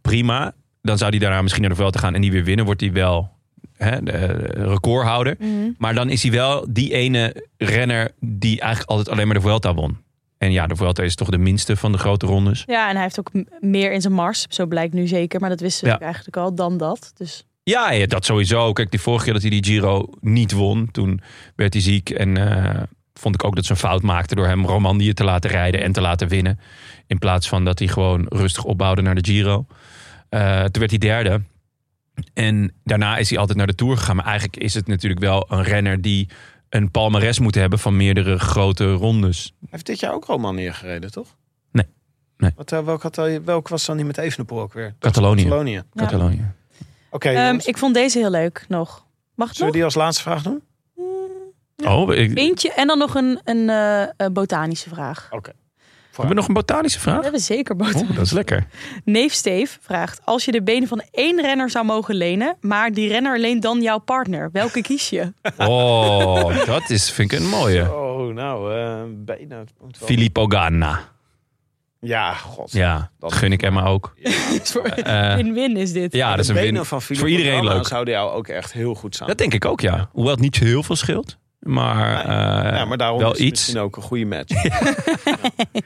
S2: prima. Dan zou hij daarna misschien naar de Vuelta gaan en die weer winnen. Wordt hij wel hè, de, eh, recordhouder. Maar dan is hij wel die ene renner die eigenlijk altijd alleen maar de Vuelta won. En ja, de Vuelta is toch de minste van de grote rondes.
S3: Ja, en hij heeft ook m- meer in zijn mars. Zo blijkt nu zeker. Maar dat wisten ze
S2: Ja.
S3: ook eigenlijk al dan dat. Dus
S2: Ja, ja, dat sowieso. Kijk, die vorige keer dat hij die Giro niet won, toen werd hij ziek. En eh, vond ik ook dat ze een fout maakte door hem Romandie te laten rijden en te laten winnen. In plaats van dat hij gewoon rustig opbouwde naar de Giro. Eh, toen werd hij derde. En daarna is hij altijd naar de Tour gegaan. Maar eigenlijk is het natuurlijk wel een renner die een palmares moet hebben van meerdere grote rondes.
S4: Hij heeft dit jaar ook Roman neergereden, toch?
S2: Nee. Nee.
S4: Wat, eh, welk, had, hij- welk was dan die met Evenepoel ook weer?
S2: Catalonië.
S4: Catalonië.
S3: Ja.
S2: Catalonië.
S4: Oké,
S3: Ehm,
S4: jongens,
S3: ik vond deze heel leuk nog. Mag
S4: zullen
S3: het nog?
S4: we die als laatste vraag doen?
S2: Oh, ik, hebben
S3: Eentje en dan nog een, een eh, eh, botanische vraag.
S2: we nog een botanische
S3: We
S2: vraag?
S3: hebben zeker botanische
S2: Oh, dat is lekker.
S3: Neef Steef vraagt: Als je de benen van één renner zou mogen lenen, maar die renner leent dan jouw partner, welke kies je?
S2: Oh, dat is, vind ik een mooie.
S4: Oh, nou, eh bijna. Het moet wel-
S2: Filippo Ganna.
S4: Ja, god.
S2: Ja, dat gun ik Emma ook. Eh,
S3: Win-win is dit.
S2: ja, dat is
S4: de
S2: een
S4: benen
S2: win.
S4: van Filip
S2: Voor iedereen
S4: Ganna
S2: leuk.
S4: zouden jou ook echt heel goed staan.
S2: Dat denk ik ook, ja. Hoewel het niet heel veel scheelt. Maar, eh,
S4: ja, maar daarom
S2: wel
S4: is het
S2: iets.
S4: misschien ook een goede match. ja.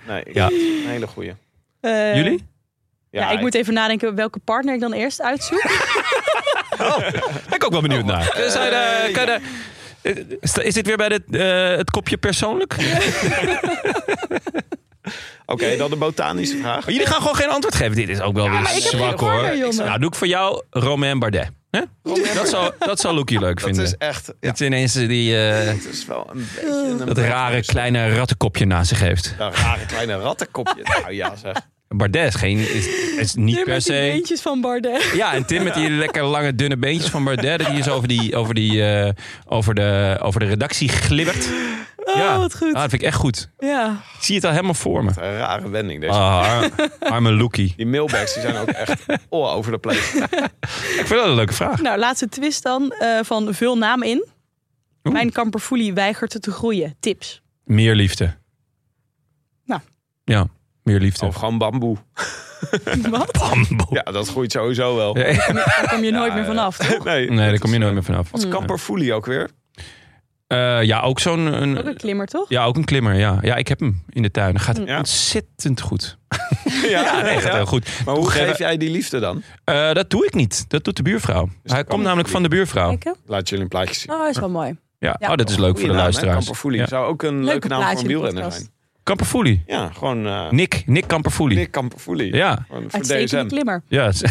S4: Nee, ik-
S2: Ja.
S4: een hele goede.
S3: Eh,
S2: Jullie?
S3: Ja, ik moet even nadenken welke partner ik dan eerst uitzoek.
S2: Ben ik ook wel
S4: Oh.
S2: benieuwd naar. Zou je daar-
S4: eh,
S2: kan je daar- eh, is- is dit weer bij dit, eh, het kopje persoonlijk?
S4: Oké, dan de botanische vraag.
S2: Jullie gaan gewoon geen antwoord geven. Dit is ook wel weer
S3: ik heb
S2: zwak,
S3: geen
S2: hoor.
S3: partner, jongen.
S2: Nou, doe ik voor jou Romain Bardet. hè? Dat zou, dat zou Loekie leuk
S4: Dat
S2: vinden.
S4: is echt... Ja,
S2: Het is ineens die, eh,
S4: het is wel een beetje... Een
S2: dat rare kleine rattenkopje naast zich heeft.
S4: Dat rare kleine rattenkopje. Nou ja, zeg.
S2: Bardet is, geen, is, is niet
S3: Hier
S2: per
S3: met die
S2: se...
S3: beentjes van Bardet.
S2: Ja, en Tim met die lekker lange dunne beentjes van Bardet. Die is over, die, over, die, eh, over, de, over de redactie glibbert. ja,
S3: Oh, wat goed.
S2: Ah, dat vind ik echt goed.
S3: Ja.
S2: Ik zie het al helemaal voor me.
S4: Een rare wending deze.
S2: Ah, ar- arme Loekie.
S4: Die mailbags die zijn ook echt all over the place.
S2: Ik vind dat een leuke vraag.
S3: Nou, laatste twist dan eh, van vul naam in. Mijn kamperfoelie weigert te groeien. Tips.
S2: Meer liefde.
S3: Nou.
S2: Ja, meer liefde.
S4: Of gewoon bamboe.
S3: Wat?
S2: Bamboe.
S4: Ja, dat groeit sowieso wel.
S2: Nee,
S3: Daar kom je nooit meer vanaf, toch?
S4: Nee,
S2: nee, daar kom je nooit meer vanaf.
S4: Wat is Kamperfoelie ook weer?
S2: Eh, ja, ook zo'n... een-
S3: Ook een klimmer, toch?
S2: ja, ook een klimmer. Ja. ja, ik heb hem in de tuin. Gaat
S4: Ja.
S2: ontzettend goed.
S4: Ja,
S2: Nee, gaat heel goed.
S4: Maar hoe
S2: Toegeven-
S4: geef jij die liefde dan?
S2: Eh, dat doe ik niet. Dus Dat doet de buurvrouw. Hij komt namelijk van de buurvrouw.
S3: Kijken.
S4: Laat jullie een plaatje zien.
S3: Oh, is wel mooi.
S2: Ja,
S3: Ja.
S2: Oh, dat is leuk voor de luisteraars.
S4: Kamperfoelie
S2: Ja.
S4: zou ook een leuke naam voor een
S3: plaatje in de
S4: wielrenner
S3: podcast.
S4: zijn.
S2: Kamperfoelie.
S4: Ja, gewoon eh
S2: Nick, Nick Kamperfoelie.
S4: Nick Kamperfoelie.
S2: Ja,
S4: Gewoon voor
S3: Uitstekende
S4: DSM.
S3: klimmer.
S2: ja.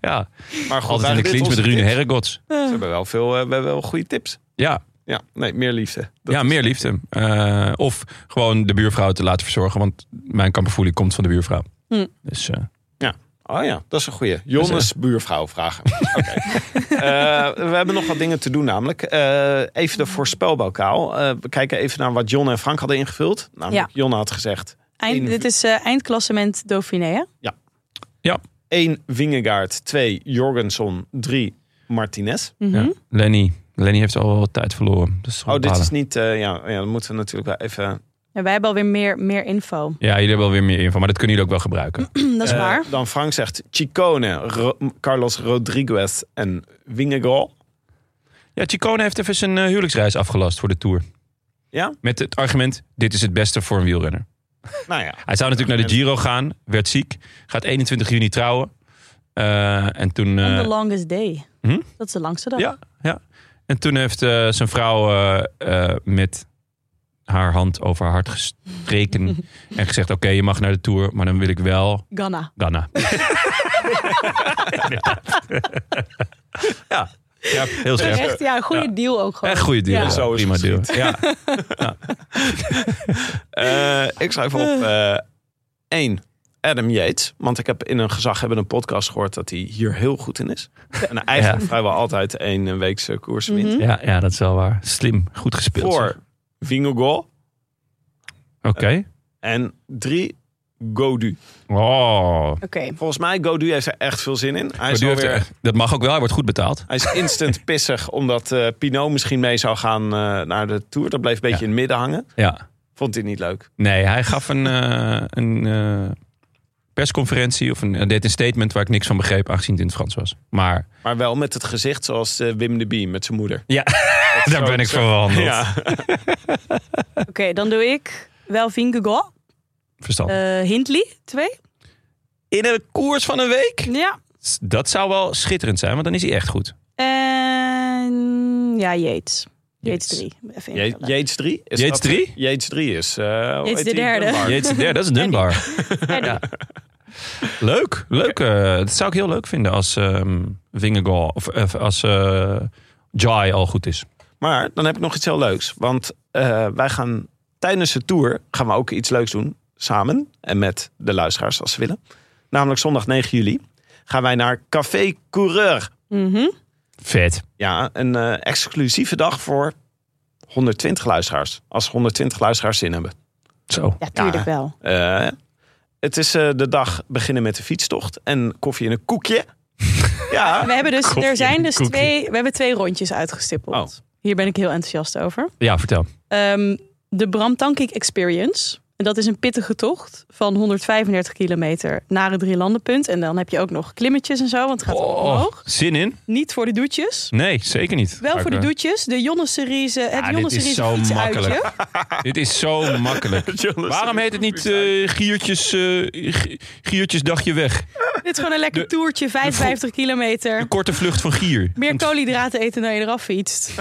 S2: ja,
S4: Maar goed,
S2: altijd in
S4: eigenlijk
S2: de
S4: dit
S2: clinch met
S4: onze
S2: Rune
S4: tips.
S2: Herregods.
S4: Ze hebben wel veel, eh, we hebben wel goede tips.
S2: Ja,
S4: Ja, nee, meer liefde. Dat
S2: ja
S4: is-
S2: meer liefde. Eh, of gewoon de buurvrouw te laten verzorgen, want mijn Kamperfoelie komt van de buurvrouw.
S3: Hm.
S2: Dus eh,
S4: Ja. Oh ja, dat is een goeie. Jonnes buurvrouw vragen. Oké. Eh, we hebben nog wat dingen te doen namelijk. Eh, even de voorspelbokaal. Eh, we kijken even naar wat Jon en Frank hadden ingevuld. Namelijk,
S3: Ja.
S4: Jon had gezegd...
S3: Eind,
S4: Eén-
S3: dit is eh, eindklassement Dauphiné, hè?
S2: ja.
S4: 1 Wingegaard, 2 Jorgensen, 3 Martinez.
S3: Hm?
S2: ja. Lenny. Lenny heeft al wel tijd verloren. Dus
S4: Oh, dit
S2: ophalen.
S4: is niet. eh, ja, ja, dan moeten we natuurlijk wel even.
S3: Ja, wij hebben alweer meer, meer info.
S2: Ja, jullie hebben wel weer meer info, maar dat kunnen jullie ook wel gebruiken.
S3: Dat is waar.
S4: Eh, Dan Frank zegt Chicone, Ro- Carlos Rodriguez en Wingegaard.
S2: Ja, Chicone heeft even zijn eh, huwelijksreis afgelast voor de Tour.
S4: Ja?
S2: Met het argument, dit is het beste voor een wielrenner.
S4: Nou ja,
S2: Hij zou natuurlijk naar de Giro gaan, werd ziek, gaat 21 juni trouwen. Eh, en toen. eh,
S3: On the longest day.
S2: Hm?
S3: Dat is de langste dag.
S2: ja, ja. En toen heeft eh, zijn vrouw eh, eh, met haar hand over haar hart gestreken en gezegd: Oké, je mag naar de tour, maar dan wil ik wel
S3: Ghana.
S2: Ghana. ja. ja, heel scherp.
S3: Echt, ja, een goede deal ook gewoon.
S2: Echt goede deal.
S3: Ja.
S2: Ja,
S4: Zo is
S2: prima
S4: het
S2: deal. Ja.
S4: Eh, ik schrijf op eh, één Adam Yates. Want ik heb in een gezaghebbende podcast gehoord dat hij hier heel goed in is. En eigenlijk vrijwel altijd één eh, weekse koers wint.
S2: Ja, ja, dat is wel waar. Slim, goed
S3: Mhm.
S2: gespeeld. zeg.
S4: Voor Vingegaal.
S2: Oké.
S4: En drie, Godu.
S2: Oh.
S3: Oké.
S4: Volgens mij, Godu heeft er echt veel zin in. Hij is,
S2: Maar die
S4: alweer,
S2: heeft er- dat mag ook wel, hij wordt goed betaald.
S4: hij is instant pissig omdat eh Pinot misschien mee zou gaan eh, naar de Tour. Dat bleef een beetje
S2: Ja.
S4: in het midden hangen.
S2: Ja.
S4: Vond hij niet leuk.
S2: Nee, hij gaf een, eh, een eh, persconferentie of een, hij deed een statement waar ik niks van begreep, aangezien het in het Frans was. Maar
S4: Maar wel met het gezicht zoals eh, Wim de Bie met zijn moeder.
S2: ja, daar ben ik verwandeld.
S4: Ja.
S3: Oké, dan doe ik wel Vingegaal.
S2: Verstand.
S3: Eh Hindley, twee.
S2: in een koers van een week?
S3: Ja.
S2: Dat zou wel schitterend zijn, want dan is hij echt goed.
S3: En ja, Yates. Yates
S2: Yates.
S3: drie. Even
S4: Je-
S3: invullen.
S4: Yates 3? Is
S2: Yates
S4: dat-
S2: drie?
S4: Yates 3 is... eh, hoe
S3: Yates
S4: heet
S3: de
S4: die?
S3: derde.
S4: Dunbar.
S2: Jeetje, ja, dat is Dunbar. Ja. Leuk, leuk. eh, dat zou ik heel leuk vinden als ehm Vingegaal of eh, als eh Jai al goed is.
S4: Maar dan heb ik nog iets heel leuks. Want eh, wij gaan tijdens de tour gaan we ook iets leuks doen. Samen en met de luisteraars als ze willen. Namelijk zondag 9 juli gaan wij naar Café Coureur.
S3: Mhm.
S2: Vet.
S4: Ja, een eh, exclusieve dag voor 120 luisteraars. Als er 120 luisteraars zin hebben.
S2: Zo.
S3: Ja, tuurlijk wel.
S4: Eh, het is eh, de dag beginnen met de fietstocht en koffie en een koekje. ja,
S3: We hebben dus,
S2: Koffie
S3: er zijn
S2: en
S3: dus
S2: koekje. Oh.
S3: twee, we hebben twee rondjes uitgestippeld. Hier ben ik heel enthousiast over.
S2: Ja, vertel.
S3: Ehm, de Bram Tankink Experience. En dat is een pittige tocht van 135 kilometer naar het Drielandenpunt. En dan heb je ook nog klimmetjes en zo, want het gaat ook omhoog.
S2: Oh, zin in?
S3: Niet voor de doetjes.
S2: Nee, zeker niet.
S3: Wel voor de
S2: Maar, eh,
S3: doetjes. De Jonne Cerise, het
S2: dit
S3: Jonne
S2: is
S3: Cerise
S2: zo
S3: fietsuitje.
S2: makkelijk. Dit is zo makkelijk. Waarom heet het niet eh, Giertjes, eh, Gi- Giertjes dagje weg?
S3: Dit is gewoon een lekker
S2: De-
S3: toertje, 55 kilometer.
S2: De korte vlucht van Gier.
S3: Meer koolhydraten eten dan je eraf fietst.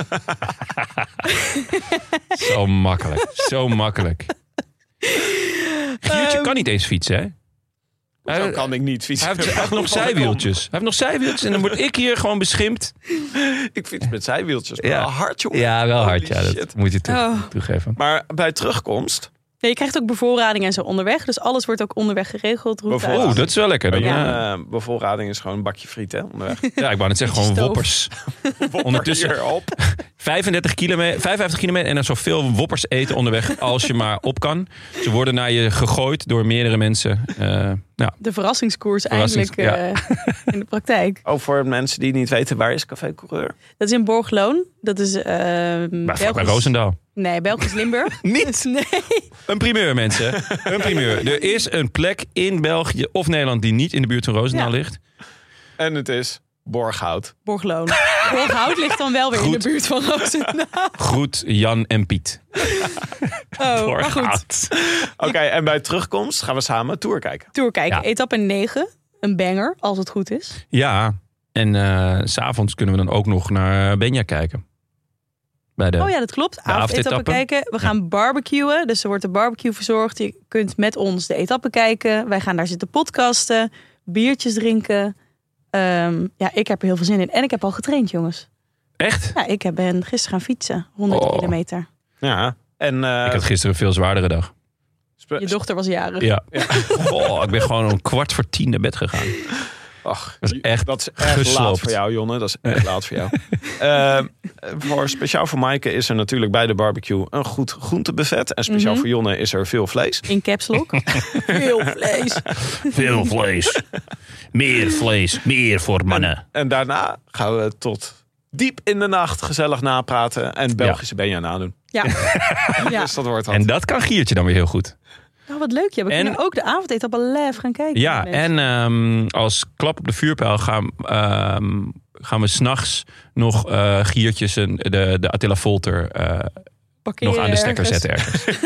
S2: Zo makkelijk. Zo makkelijk. Giertje
S3: Ehm.
S2: kan niet eens fietsen, hè?
S4: zo
S2: Hij,
S4: kan ik niet
S2: hij
S4: fietsen.
S2: heeft, hij heeft nog zijwieltjes. Hij heeft nog zijwieltjes en dan word ik hier gewoon beschimpt.
S4: Ik fiets met zijwieltjes.
S2: Ja.
S4: Ja. Hard, jongen.
S2: Ja, wel hard. Ja,
S4: Holy
S2: dat
S4: shit.
S2: moet je toe-
S3: Oh.
S2: toegeven.
S4: Maar bij terugkomst,
S3: Ja, je krijgt ook bevoorrading en zo onderweg. Dus alles wordt ook onderweg geregeld. Route
S4: Bevoor-
S3: uit.
S2: Oh, dat is wel lekker. Dan, ja.
S4: ja. eh, bevoorrading is gewoon een bakje friet hè, onderweg.
S2: ja, ik wou net zeggen, gewoon
S3: Stoof.
S2: woppers. Ondertussen
S4: Hier, op.
S2: 35 kilometer, 55 kilometer en dan zoveel woppers eten onderweg als je maar op kan. Ze worden naar je gegooid door meerdere mensen. Eh, nou,
S3: De verrassingskoers
S2: Verrassings-
S3: eindelijk eh, in de praktijk.
S4: Oh, voor mensen die niet weten, waar is Café Coureur?
S3: Dat is in Borgloon. Dat is ehm
S2: bij, vlakbij Roosendaal.
S3: Nee, Belgisch Limburg.
S2: Niet?
S3: Nee.
S2: Een primeur, mensen. Een primeur. Er is een plek in België of Nederland die niet in de buurt van Roosendaal
S3: Ja.
S2: ligt.
S4: En het is Borghout.
S3: Borgloon. Borghout ligt dan wel weer in
S2: Goed.
S3: de buurt van Roosendaal.
S2: Groet Jan en Piet.
S3: Oh, maar goed.
S4: Oké, en bij terugkomst gaan we samen een tour kijken.
S3: Tour kijken.
S2: Ja.
S3: Etappe 9. Een banger, als het goed is.
S2: Ja, en eh, s s'avonds kunnen we dan ook nog naar eh, Benja kijken. Bij de...
S3: Oh ja, dat klopt. Avondetappen
S2: avondetappen.
S3: kijken. We gaan barbecuen. Dus er wordt de barbecue verzorgd. Je kunt met ons de etappen kijken. Wij gaan daar zitten podcasten. Biertjes drinken. Ehm, ja, ik heb er heel veel zin in. En ik heb al getraind, jongens.
S2: Echt?
S3: Ja, ik heb- ben gisteren gaan fietsen. 100
S2: Oh.
S3: kilometer.
S4: Ja. En eh,
S2: Ik had gisteren een veel zwaardere dag.
S4: spe-
S3: Je dochter was jarig.
S2: Ja. Oh, ik ben gewoon om kwart voor tien naar bed gegaan.
S4: Ach,
S2: Dat is echt
S4: dat is echt laat
S2: gesloopt.
S4: voor jou, Jonne. Dat is echt laat voor jou. Eh, voor, speciaal voor Maaike is er natuurlijk bij de barbecue een goed groentebuffet. En speciaal
S3: Mhm.
S4: voor Jonne is er veel vlees.
S3: In caps lock. Veel vlees.
S2: Veel vlees. Meer vlees. Meer voor mannen.
S4: En daarna gaan we tot diep in de nacht gezellig napraten. En Belgische Benja nadoen.
S3: Ja. ja.
S4: Dus dat wordt wat.
S2: En dat kan Giertje dan weer heel goed.
S3: Nou, wat leuk. Ja, we
S2: En-
S3: kunnen ook de avondetappen live gaan kijken.
S2: Ja,
S3: jongens.
S2: en ehm, als klap op de vuurpijl gaan, ehm, gaan we s'nachts nog eh, Giertjes en de, de Attila Volter eh,
S3: Parkeren
S2: nog aan de stekker
S3: ergens.
S2: zetten ergens.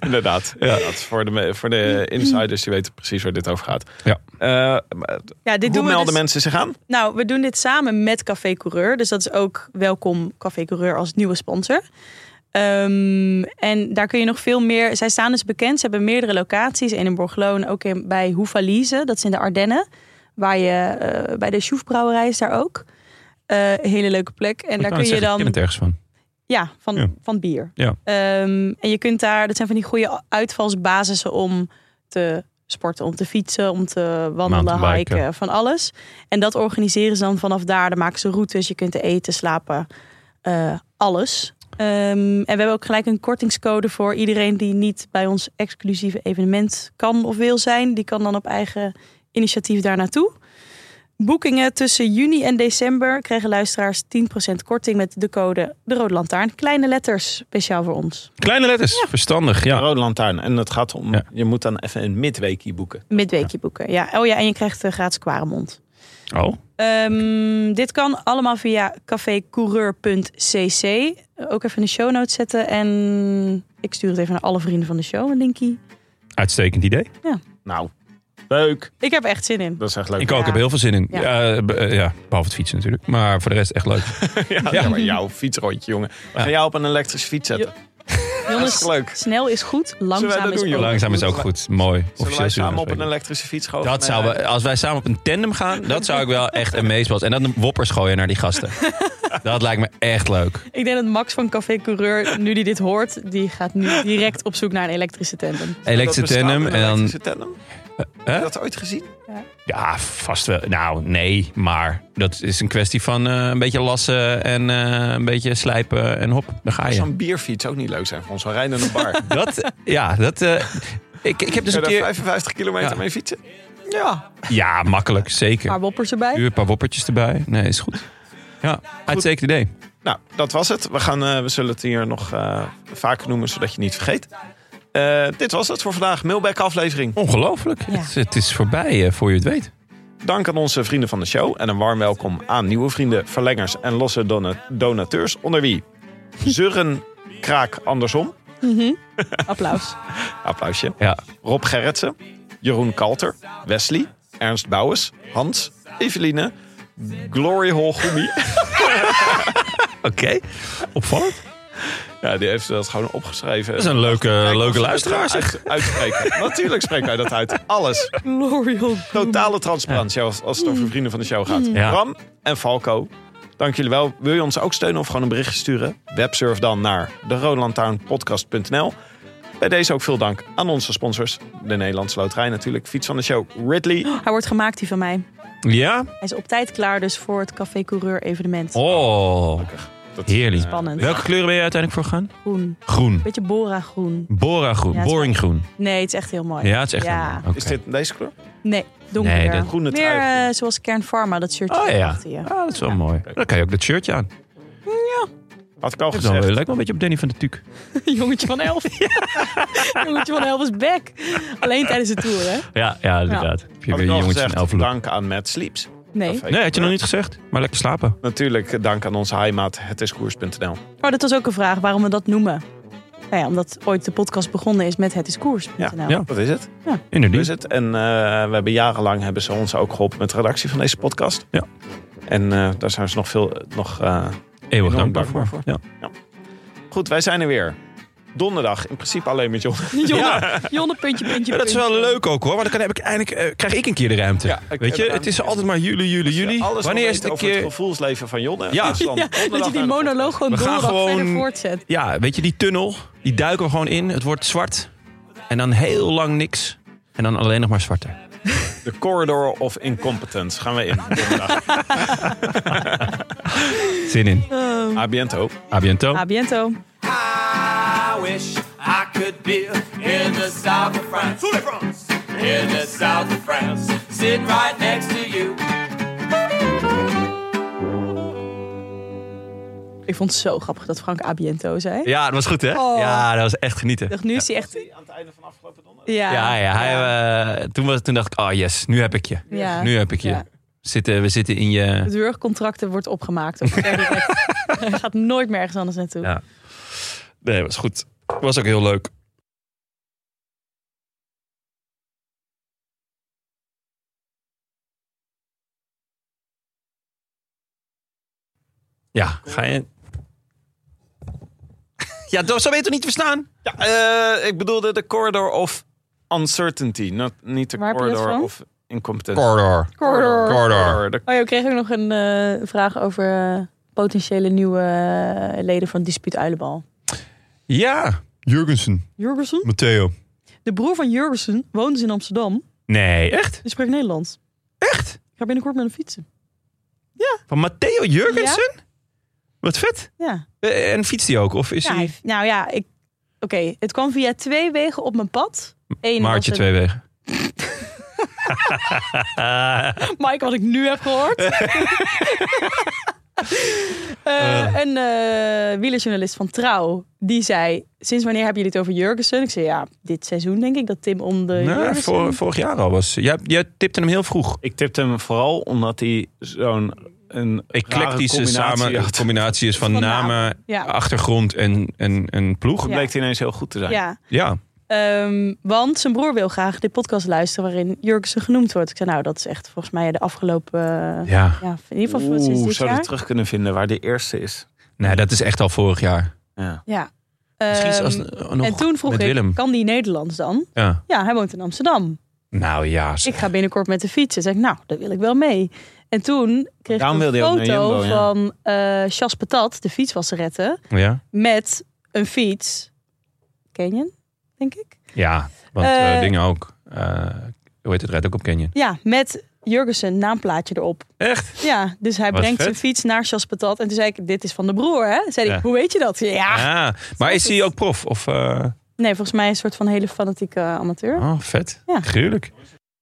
S4: Inderdaad. inderdaad. Voor, de, me- voor de
S3: Mhm.
S4: insiders die weten precies waar dit over gaat.
S2: Ja.
S4: Eh, maar
S3: Ja, dit
S4: hoe
S3: doen we
S4: melden
S3: dus-
S4: mensen zich aan?
S3: Nou, we doen dit samen met Café Coureur. Dus dat is ook welkom Café Coureur als nieuwe sponsor. Ehm, en daar kun je nog veel meer... Zij staan dus bekend. Ze hebben meerdere locaties. Eén in Borgloon, ook in, bij Hoevalise. Dat is in de Ardennen. Waar je, eh, bij de Sjoefbrouwerij is daar ook. Eh, hele leuke plek. En daar kun je
S2: Ik ken
S3: dan...
S2: het ergens van.
S3: Ja, van,
S2: Ja.
S3: van bier.
S2: Ja.
S3: Ehm, en je kunt daar, dat zijn van die goede uitvalsbasissen om te sporten, om te fietsen, om te wandelen,
S2: Mountainbiken.
S3: hiken, van alles. En dat organiseren ze dan vanaf daar. Dan maken ze routes, je kunt er eten, slapen, eh, alles. Ehm, en we hebben ook gelijk een kortingscode voor iedereen die niet bij ons exclusieve evenement kan of wil zijn. Die kan dan op eigen initiatief daar naartoe. Boekingen tussen juni en december krijgen luisteraars 10% korting met de code de Rode Lantaarn. Kleine letters, speciaal voor ons.
S2: Kleine letters, verstandig. Ja.
S4: Rode Lantaarn. En het gaat om,
S2: Ja.
S4: je moet dan even een midweekie boeken.
S3: Midweekje boeken. Ja, oh ja, en je krijgt de gratis kwaremond.
S2: Oh,
S3: Ehm, dit kan allemaal via cafécoureur.cc. Ook even in de show notes zetten. En ik stuur het even naar alle vrienden van de show, een linkie.
S2: uitstekend idee.
S4: Nou, leuk.
S3: Ik heb er echt zin in.
S4: Dat is echt leuk.
S2: Ik ook, ik heb heel veel zin in.
S3: Ja.
S2: Ja. eh, be- eh, ja, behalve het fietsen natuurlijk. Maar voor de rest echt leuk.
S4: ja, ja, maar jouw fietsrondje, jongen. We gaan jou op een elektrische fiets zetten.
S3: Jongens,
S4: leuk.
S3: snel is goed,
S4: Zullen wij
S3: langzaam
S4: dat
S3: is
S4: doen, joh?
S3: ook.
S2: Langzaam is ook goed. Mooi.
S4: Zullen wij
S2: Officieel
S4: samen
S2: zullen
S4: op
S2: we
S4: een
S2: dat
S4: elektrische fiets gewoon?
S2: Dat
S4: Nee,
S2: zou
S4: nee.
S2: we, als wij samen op een tandem gaan, dat zou ik wel echt een was. En dan een woppers gooien naar die gasten. Dat lijkt me echt leuk.
S3: Ik denk dat Max van Café Coureur, nu die dit hoort, die gaat nu direct op zoek naar een elektrische tandem.
S2: Elektrische
S4: Dat bestaat,
S2: tandem
S4: een
S2: en dan...
S4: elektrische tandem?
S2: hè?
S4: Heb je dat ooit gezien?
S2: Ja, vast wel. Nou, nee, maar dat is een kwestie van eh, een beetje lassen en eh, een beetje slijpen en hop, daar ga je.
S4: Zo'n bierfiets ook niet leuk zijn voor ons. Zo'n rijdende bar. Kun
S2: Dat, ja, dat... eh, ik, ik heb dus
S4: je
S2: een
S4: daar
S2: keer...
S4: 55 kilometer
S2: Ja.
S4: mee fietsen? Ja.
S2: Ja, makkelijk, zeker.
S3: Een paar woppers erbij.
S2: Uur, een paar woppertjes erbij. Nee, is goed. Ja, uitstekend idee.
S4: Nou, dat was het. We, gaan, eh, we zullen het hier nog eh, vaker noemen, zodat je het niet vergeet. Eh, dit was het voor vandaag. Mailback aflevering.
S2: Ongelooflijk.
S3: Ja.
S2: Het, het is voorbij eh, voor je het weet.
S4: Dank aan onze vrienden van de show. En een warm welkom aan nieuwe vrienden, verlengers en losse dona- donateurs. Onder wie Zurren Kraak Andersom.
S3: Applaus.
S4: Applausje.
S2: Ja,
S4: Rob Gerritsen, Jeroen Kalter, Wesley, Ernst Bouwens, Hans, Eveline, Glory Hall Gumi.
S2: oké. Opvallend.
S4: Ja, die heeft dat gewoon opgeschreven.
S2: Dat is een leuke, leuke luisteraar, zeg.
S4: Uit, uitspreken. Natuurlijk spreken wij dat uit. Alles.
S3: L'Oreal.
S4: Totale transparantie als, als het over vrienden van de show gaat.
S2: Ja.
S4: Bram en Falco, dank jullie wel. Wil je ons ook steunen of gewoon een berichtje sturen? Websurf dan naar deroodlantaarnpodcast.nl. Bij deze ook veel dank aan onze sponsors. De Nederlandse Loterij natuurlijk. Fiets van de show Ridley.
S3: Hij wordt gemaakt, die van mij.
S2: Ja?
S3: Hij is op tijd klaar dus voor het Café Coureur evenement.
S2: Oh,
S4: Dat- eh,
S2: heerlijk.
S3: Spannend.
S2: Welke kleuren ben je uiteindelijk voor gaan?
S3: Groen.
S2: Groen.
S3: Beetje Bora groen.
S2: Bora groen.
S3: Ja, het is-
S2: Boring groen.
S3: Nee, het is echt heel mooi.
S2: Ja, het is echt
S3: Ja.
S2: een- oké.
S4: Is dit deze kleur?
S3: Nee, donkerder.
S2: Nee, dat-
S4: Groene
S3: Meer
S4: trui.
S3: eh, zoals Kern Pharma, dat shirtje
S2: Oh ja, ja.
S3: achter je.
S2: Ah, dat is wel mooi. Dan kan je ook dat shirtje aan.
S4: Had ik al
S2: Dan eh,
S4: gezegd.
S2: lijkt wel een beetje op Danny van de Tuuk.
S3: Jongetje van elf. Jongetje van elf is back. Alleen tijdens de tour, hè?
S2: Ja, ja inderdaad. Heb je
S4: Had
S2: weer
S4: ik
S2: een
S4: al
S2: jongetje van elf
S4: gezegd.
S2: look.
S4: Dank aan Matt Sleeps.
S3: Nee.
S2: Nee, had je nog niet gezegd. Maar lekker slapen.
S4: Natuurlijk eh, dank aan onze heimaat, hetiskoers.nl.
S3: Maar dat was ook een vraag waarom we dat noemen. Nou ja, omdat ooit de podcast begonnen is met Het is Koers.nl.
S4: Ja,
S2: Ja.
S4: Dat is het. Dat is
S2: Inderdaad.
S4: het. En eh, we hebben jarenlang hebben ze ons ook geholpen met de redactie van deze podcast.
S2: Ja.
S4: En eh, daar zijn ze nog veel... Nog, eh,
S2: Eeuwig
S4: Enorm
S2: dankbaar
S4: dankbaar
S2: voor. Ja.
S4: Goed, wij zijn er weer. Donderdag, in principe alleen met John.
S3: Jonne, Jonne, puntje, puntje,
S2: Ja, dat is
S3: puntje.
S2: wel leuk ook hoor, want dan kan, heb ik eindelijk, eh, krijg ik een keer de ruimte.
S4: Ja, ik heb
S2: Weet
S4: de
S2: je, het
S4: ruimte.
S2: is altijd maar jullie, jullie, jullie.
S4: Alles
S2: Wanneer
S4: nog
S2: is
S4: weten
S2: het een
S4: over het
S2: keer...
S4: gevoelsleven van Jonne.
S2: Ja.
S4: Dus dan
S3: Ja,
S4: donderdag
S3: dat je die
S4: naar de
S3: monoloog gewoon
S2: We gaan
S3: dooraf verder
S2: gewoon-
S3: voortzet.
S2: Ja, weet je, die tunnel, die duiken we gewoon in. Het wordt zwart. En dan heel lang niks. En dan alleen nog maar zwarter.
S4: podcast. The Corridor of Incompetence gaan we in. Donderdag.
S2: Zin in.
S4: A biento.
S2: A biento.
S3: A biento.
S6: I wish I could be in the south of France. In the south of France. Sitting right next to you.
S3: Ik vond het zo grappig dat Frank A biento zei.
S2: Ja, dat was goed hè?
S3: Oh.
S2: Ja, dat was echt genieten.
S3: Dacht, Nu is hij echt...
S4: Aan het einde van afgelopen donderdag.
S3: Ja,
S2: Ja, ja. Hij, eh, toen, was, toen dacht ik, oh yes, nu heb ik je.
S3: Ja.
S2: Nu heb ik je.
S3: Ja.
S2: Zitten, we zitten in je...
S3: Het huurcontract wordt opgemaakt. Of hij gaat nooit meer ergens anders naartoe.
S2: Ja. Nee, was goed. Was ook heel leuk. Ja, ga je... Ja, dat zou je toch niet verstaan?
S4: Ja, eh, ik bedoelde de corridor of uncertainty. Not, niet de
S3: Waar heb je dat
S4: corridor
S3: van?
S4: of incompetentie.
S2: Corridor.
S3: Corridor.
S2: Corridor.
S4: De-
S3: Oh ja, we kregen ook nog een eh, vraag over eh, potentiële nieuwe eh, leden van Dispuut Uilenbal.
S2: Ja. Jurgensen.
S3: Jurgensen?
S2: Matteo.
S3: De broer van Jurgensen woont dus in Amsterdam
S2: Nee, echt?
S3: en spreekt Nederlands.
S2: Echt?
S3: Ik ga binnenkort met hem fietsen.
S2: Van Matteo Jurgensen? Wat vet.
S3: Ja.
S2: Eh, En fietst hij ook? Of is
S3: Ja,
S2: hij...
S3: hij- nou ja, ik, oké, het kwam via twee wegen op mijn pad. Eén was
S2: Maartje
S3: een-
S2: twee wegen.
S3: Mike, wat ik nu heb gehoord. Eh, Een eh wielerjournalist van Trouw, die zei... Sinds wanneer hebben jullie het over Jurgensen? Ik zei, ja, dit seizoen denk ik dat Tim om de
S2: Nou,
S3: Jurgensen-
S2: vor- vorig jaar al was. Jij, jij tipte hem heel vroeg.
S4: Ik tipte hem vooral omdat hij zo'n een
S2: Eclectische
S4: rare
S2: samen
S4: combinatie had.
S2: combinatie is van,
S3: Van
S2: namen,
S3: namen, ja.
S2: achtergrond en, en, en ploeg.
S3: Ja.
S2: Ja.
S4: Bleek hij ineens heel goed te zijn.
S3: Ja, ehm, want zijn broer wil graag de podcast luisteren waarin Jurgensen genoemd wordt. Ik zei, nou, dat is echt volgens mij de afgelopen... eh,
S2: Ja.
S3: ja, in ieder geval
S4: Oeh,
S3: sinds dit
S4: zou je
S3: jaar.
S4: terug kunnen vinden waar de eerste is.
S2: Nee, dat is echt al vorig jaar.
S4: Ja.
S3: Ja.
S2: Misschien is als,
S3: Ehm,
S2: eh, nog
S3: en toen vroeg
S2: met
S3: ik,
S2: Willem.
S3: kan die Nederlands dan?
S2: Ja.
S3: Ja, hij woont in Amsterdam.
S2: Nou ja,
S3: Dus Ik ga binnenkort met de fiets. En zei ik, nou, daar wil ik wel mee. En toen kreeg
S4: Daarom
S3: ik
S4: wilde
S3: een
S4: je ook naar
S3: foto
S4: Jumbo, ja.
S3: van eh Chas Patat, de fietswasserette,
S2: ja.
S3: met een fiets. Canyon, denk ik.
S2: ja want
S3: Eh,
S2: eh, dingen ook. Eh, hoe heet het? Rijdt ook op Canyon.
S3: Ja, met Jurgensen naamplaatje erop.
S2: Echt?
S3: Ja, dus hij
S2: Wat
S3: brengt
S2: vet.
S3: zijn fiets naar Chas Patat. En toen zei ik, dit is van de broer, hè? Zei
S2: Ja.
S3: ik, hoe weet je dat? Ja.
S2: Ja. Ah, Maar is hij ook prof? Of, eh,
S3: Nee, volgens mij een soort van hele fanatieke amateur.
S2: oh, vet.
S3: Ja.
S2: Gruwelijk.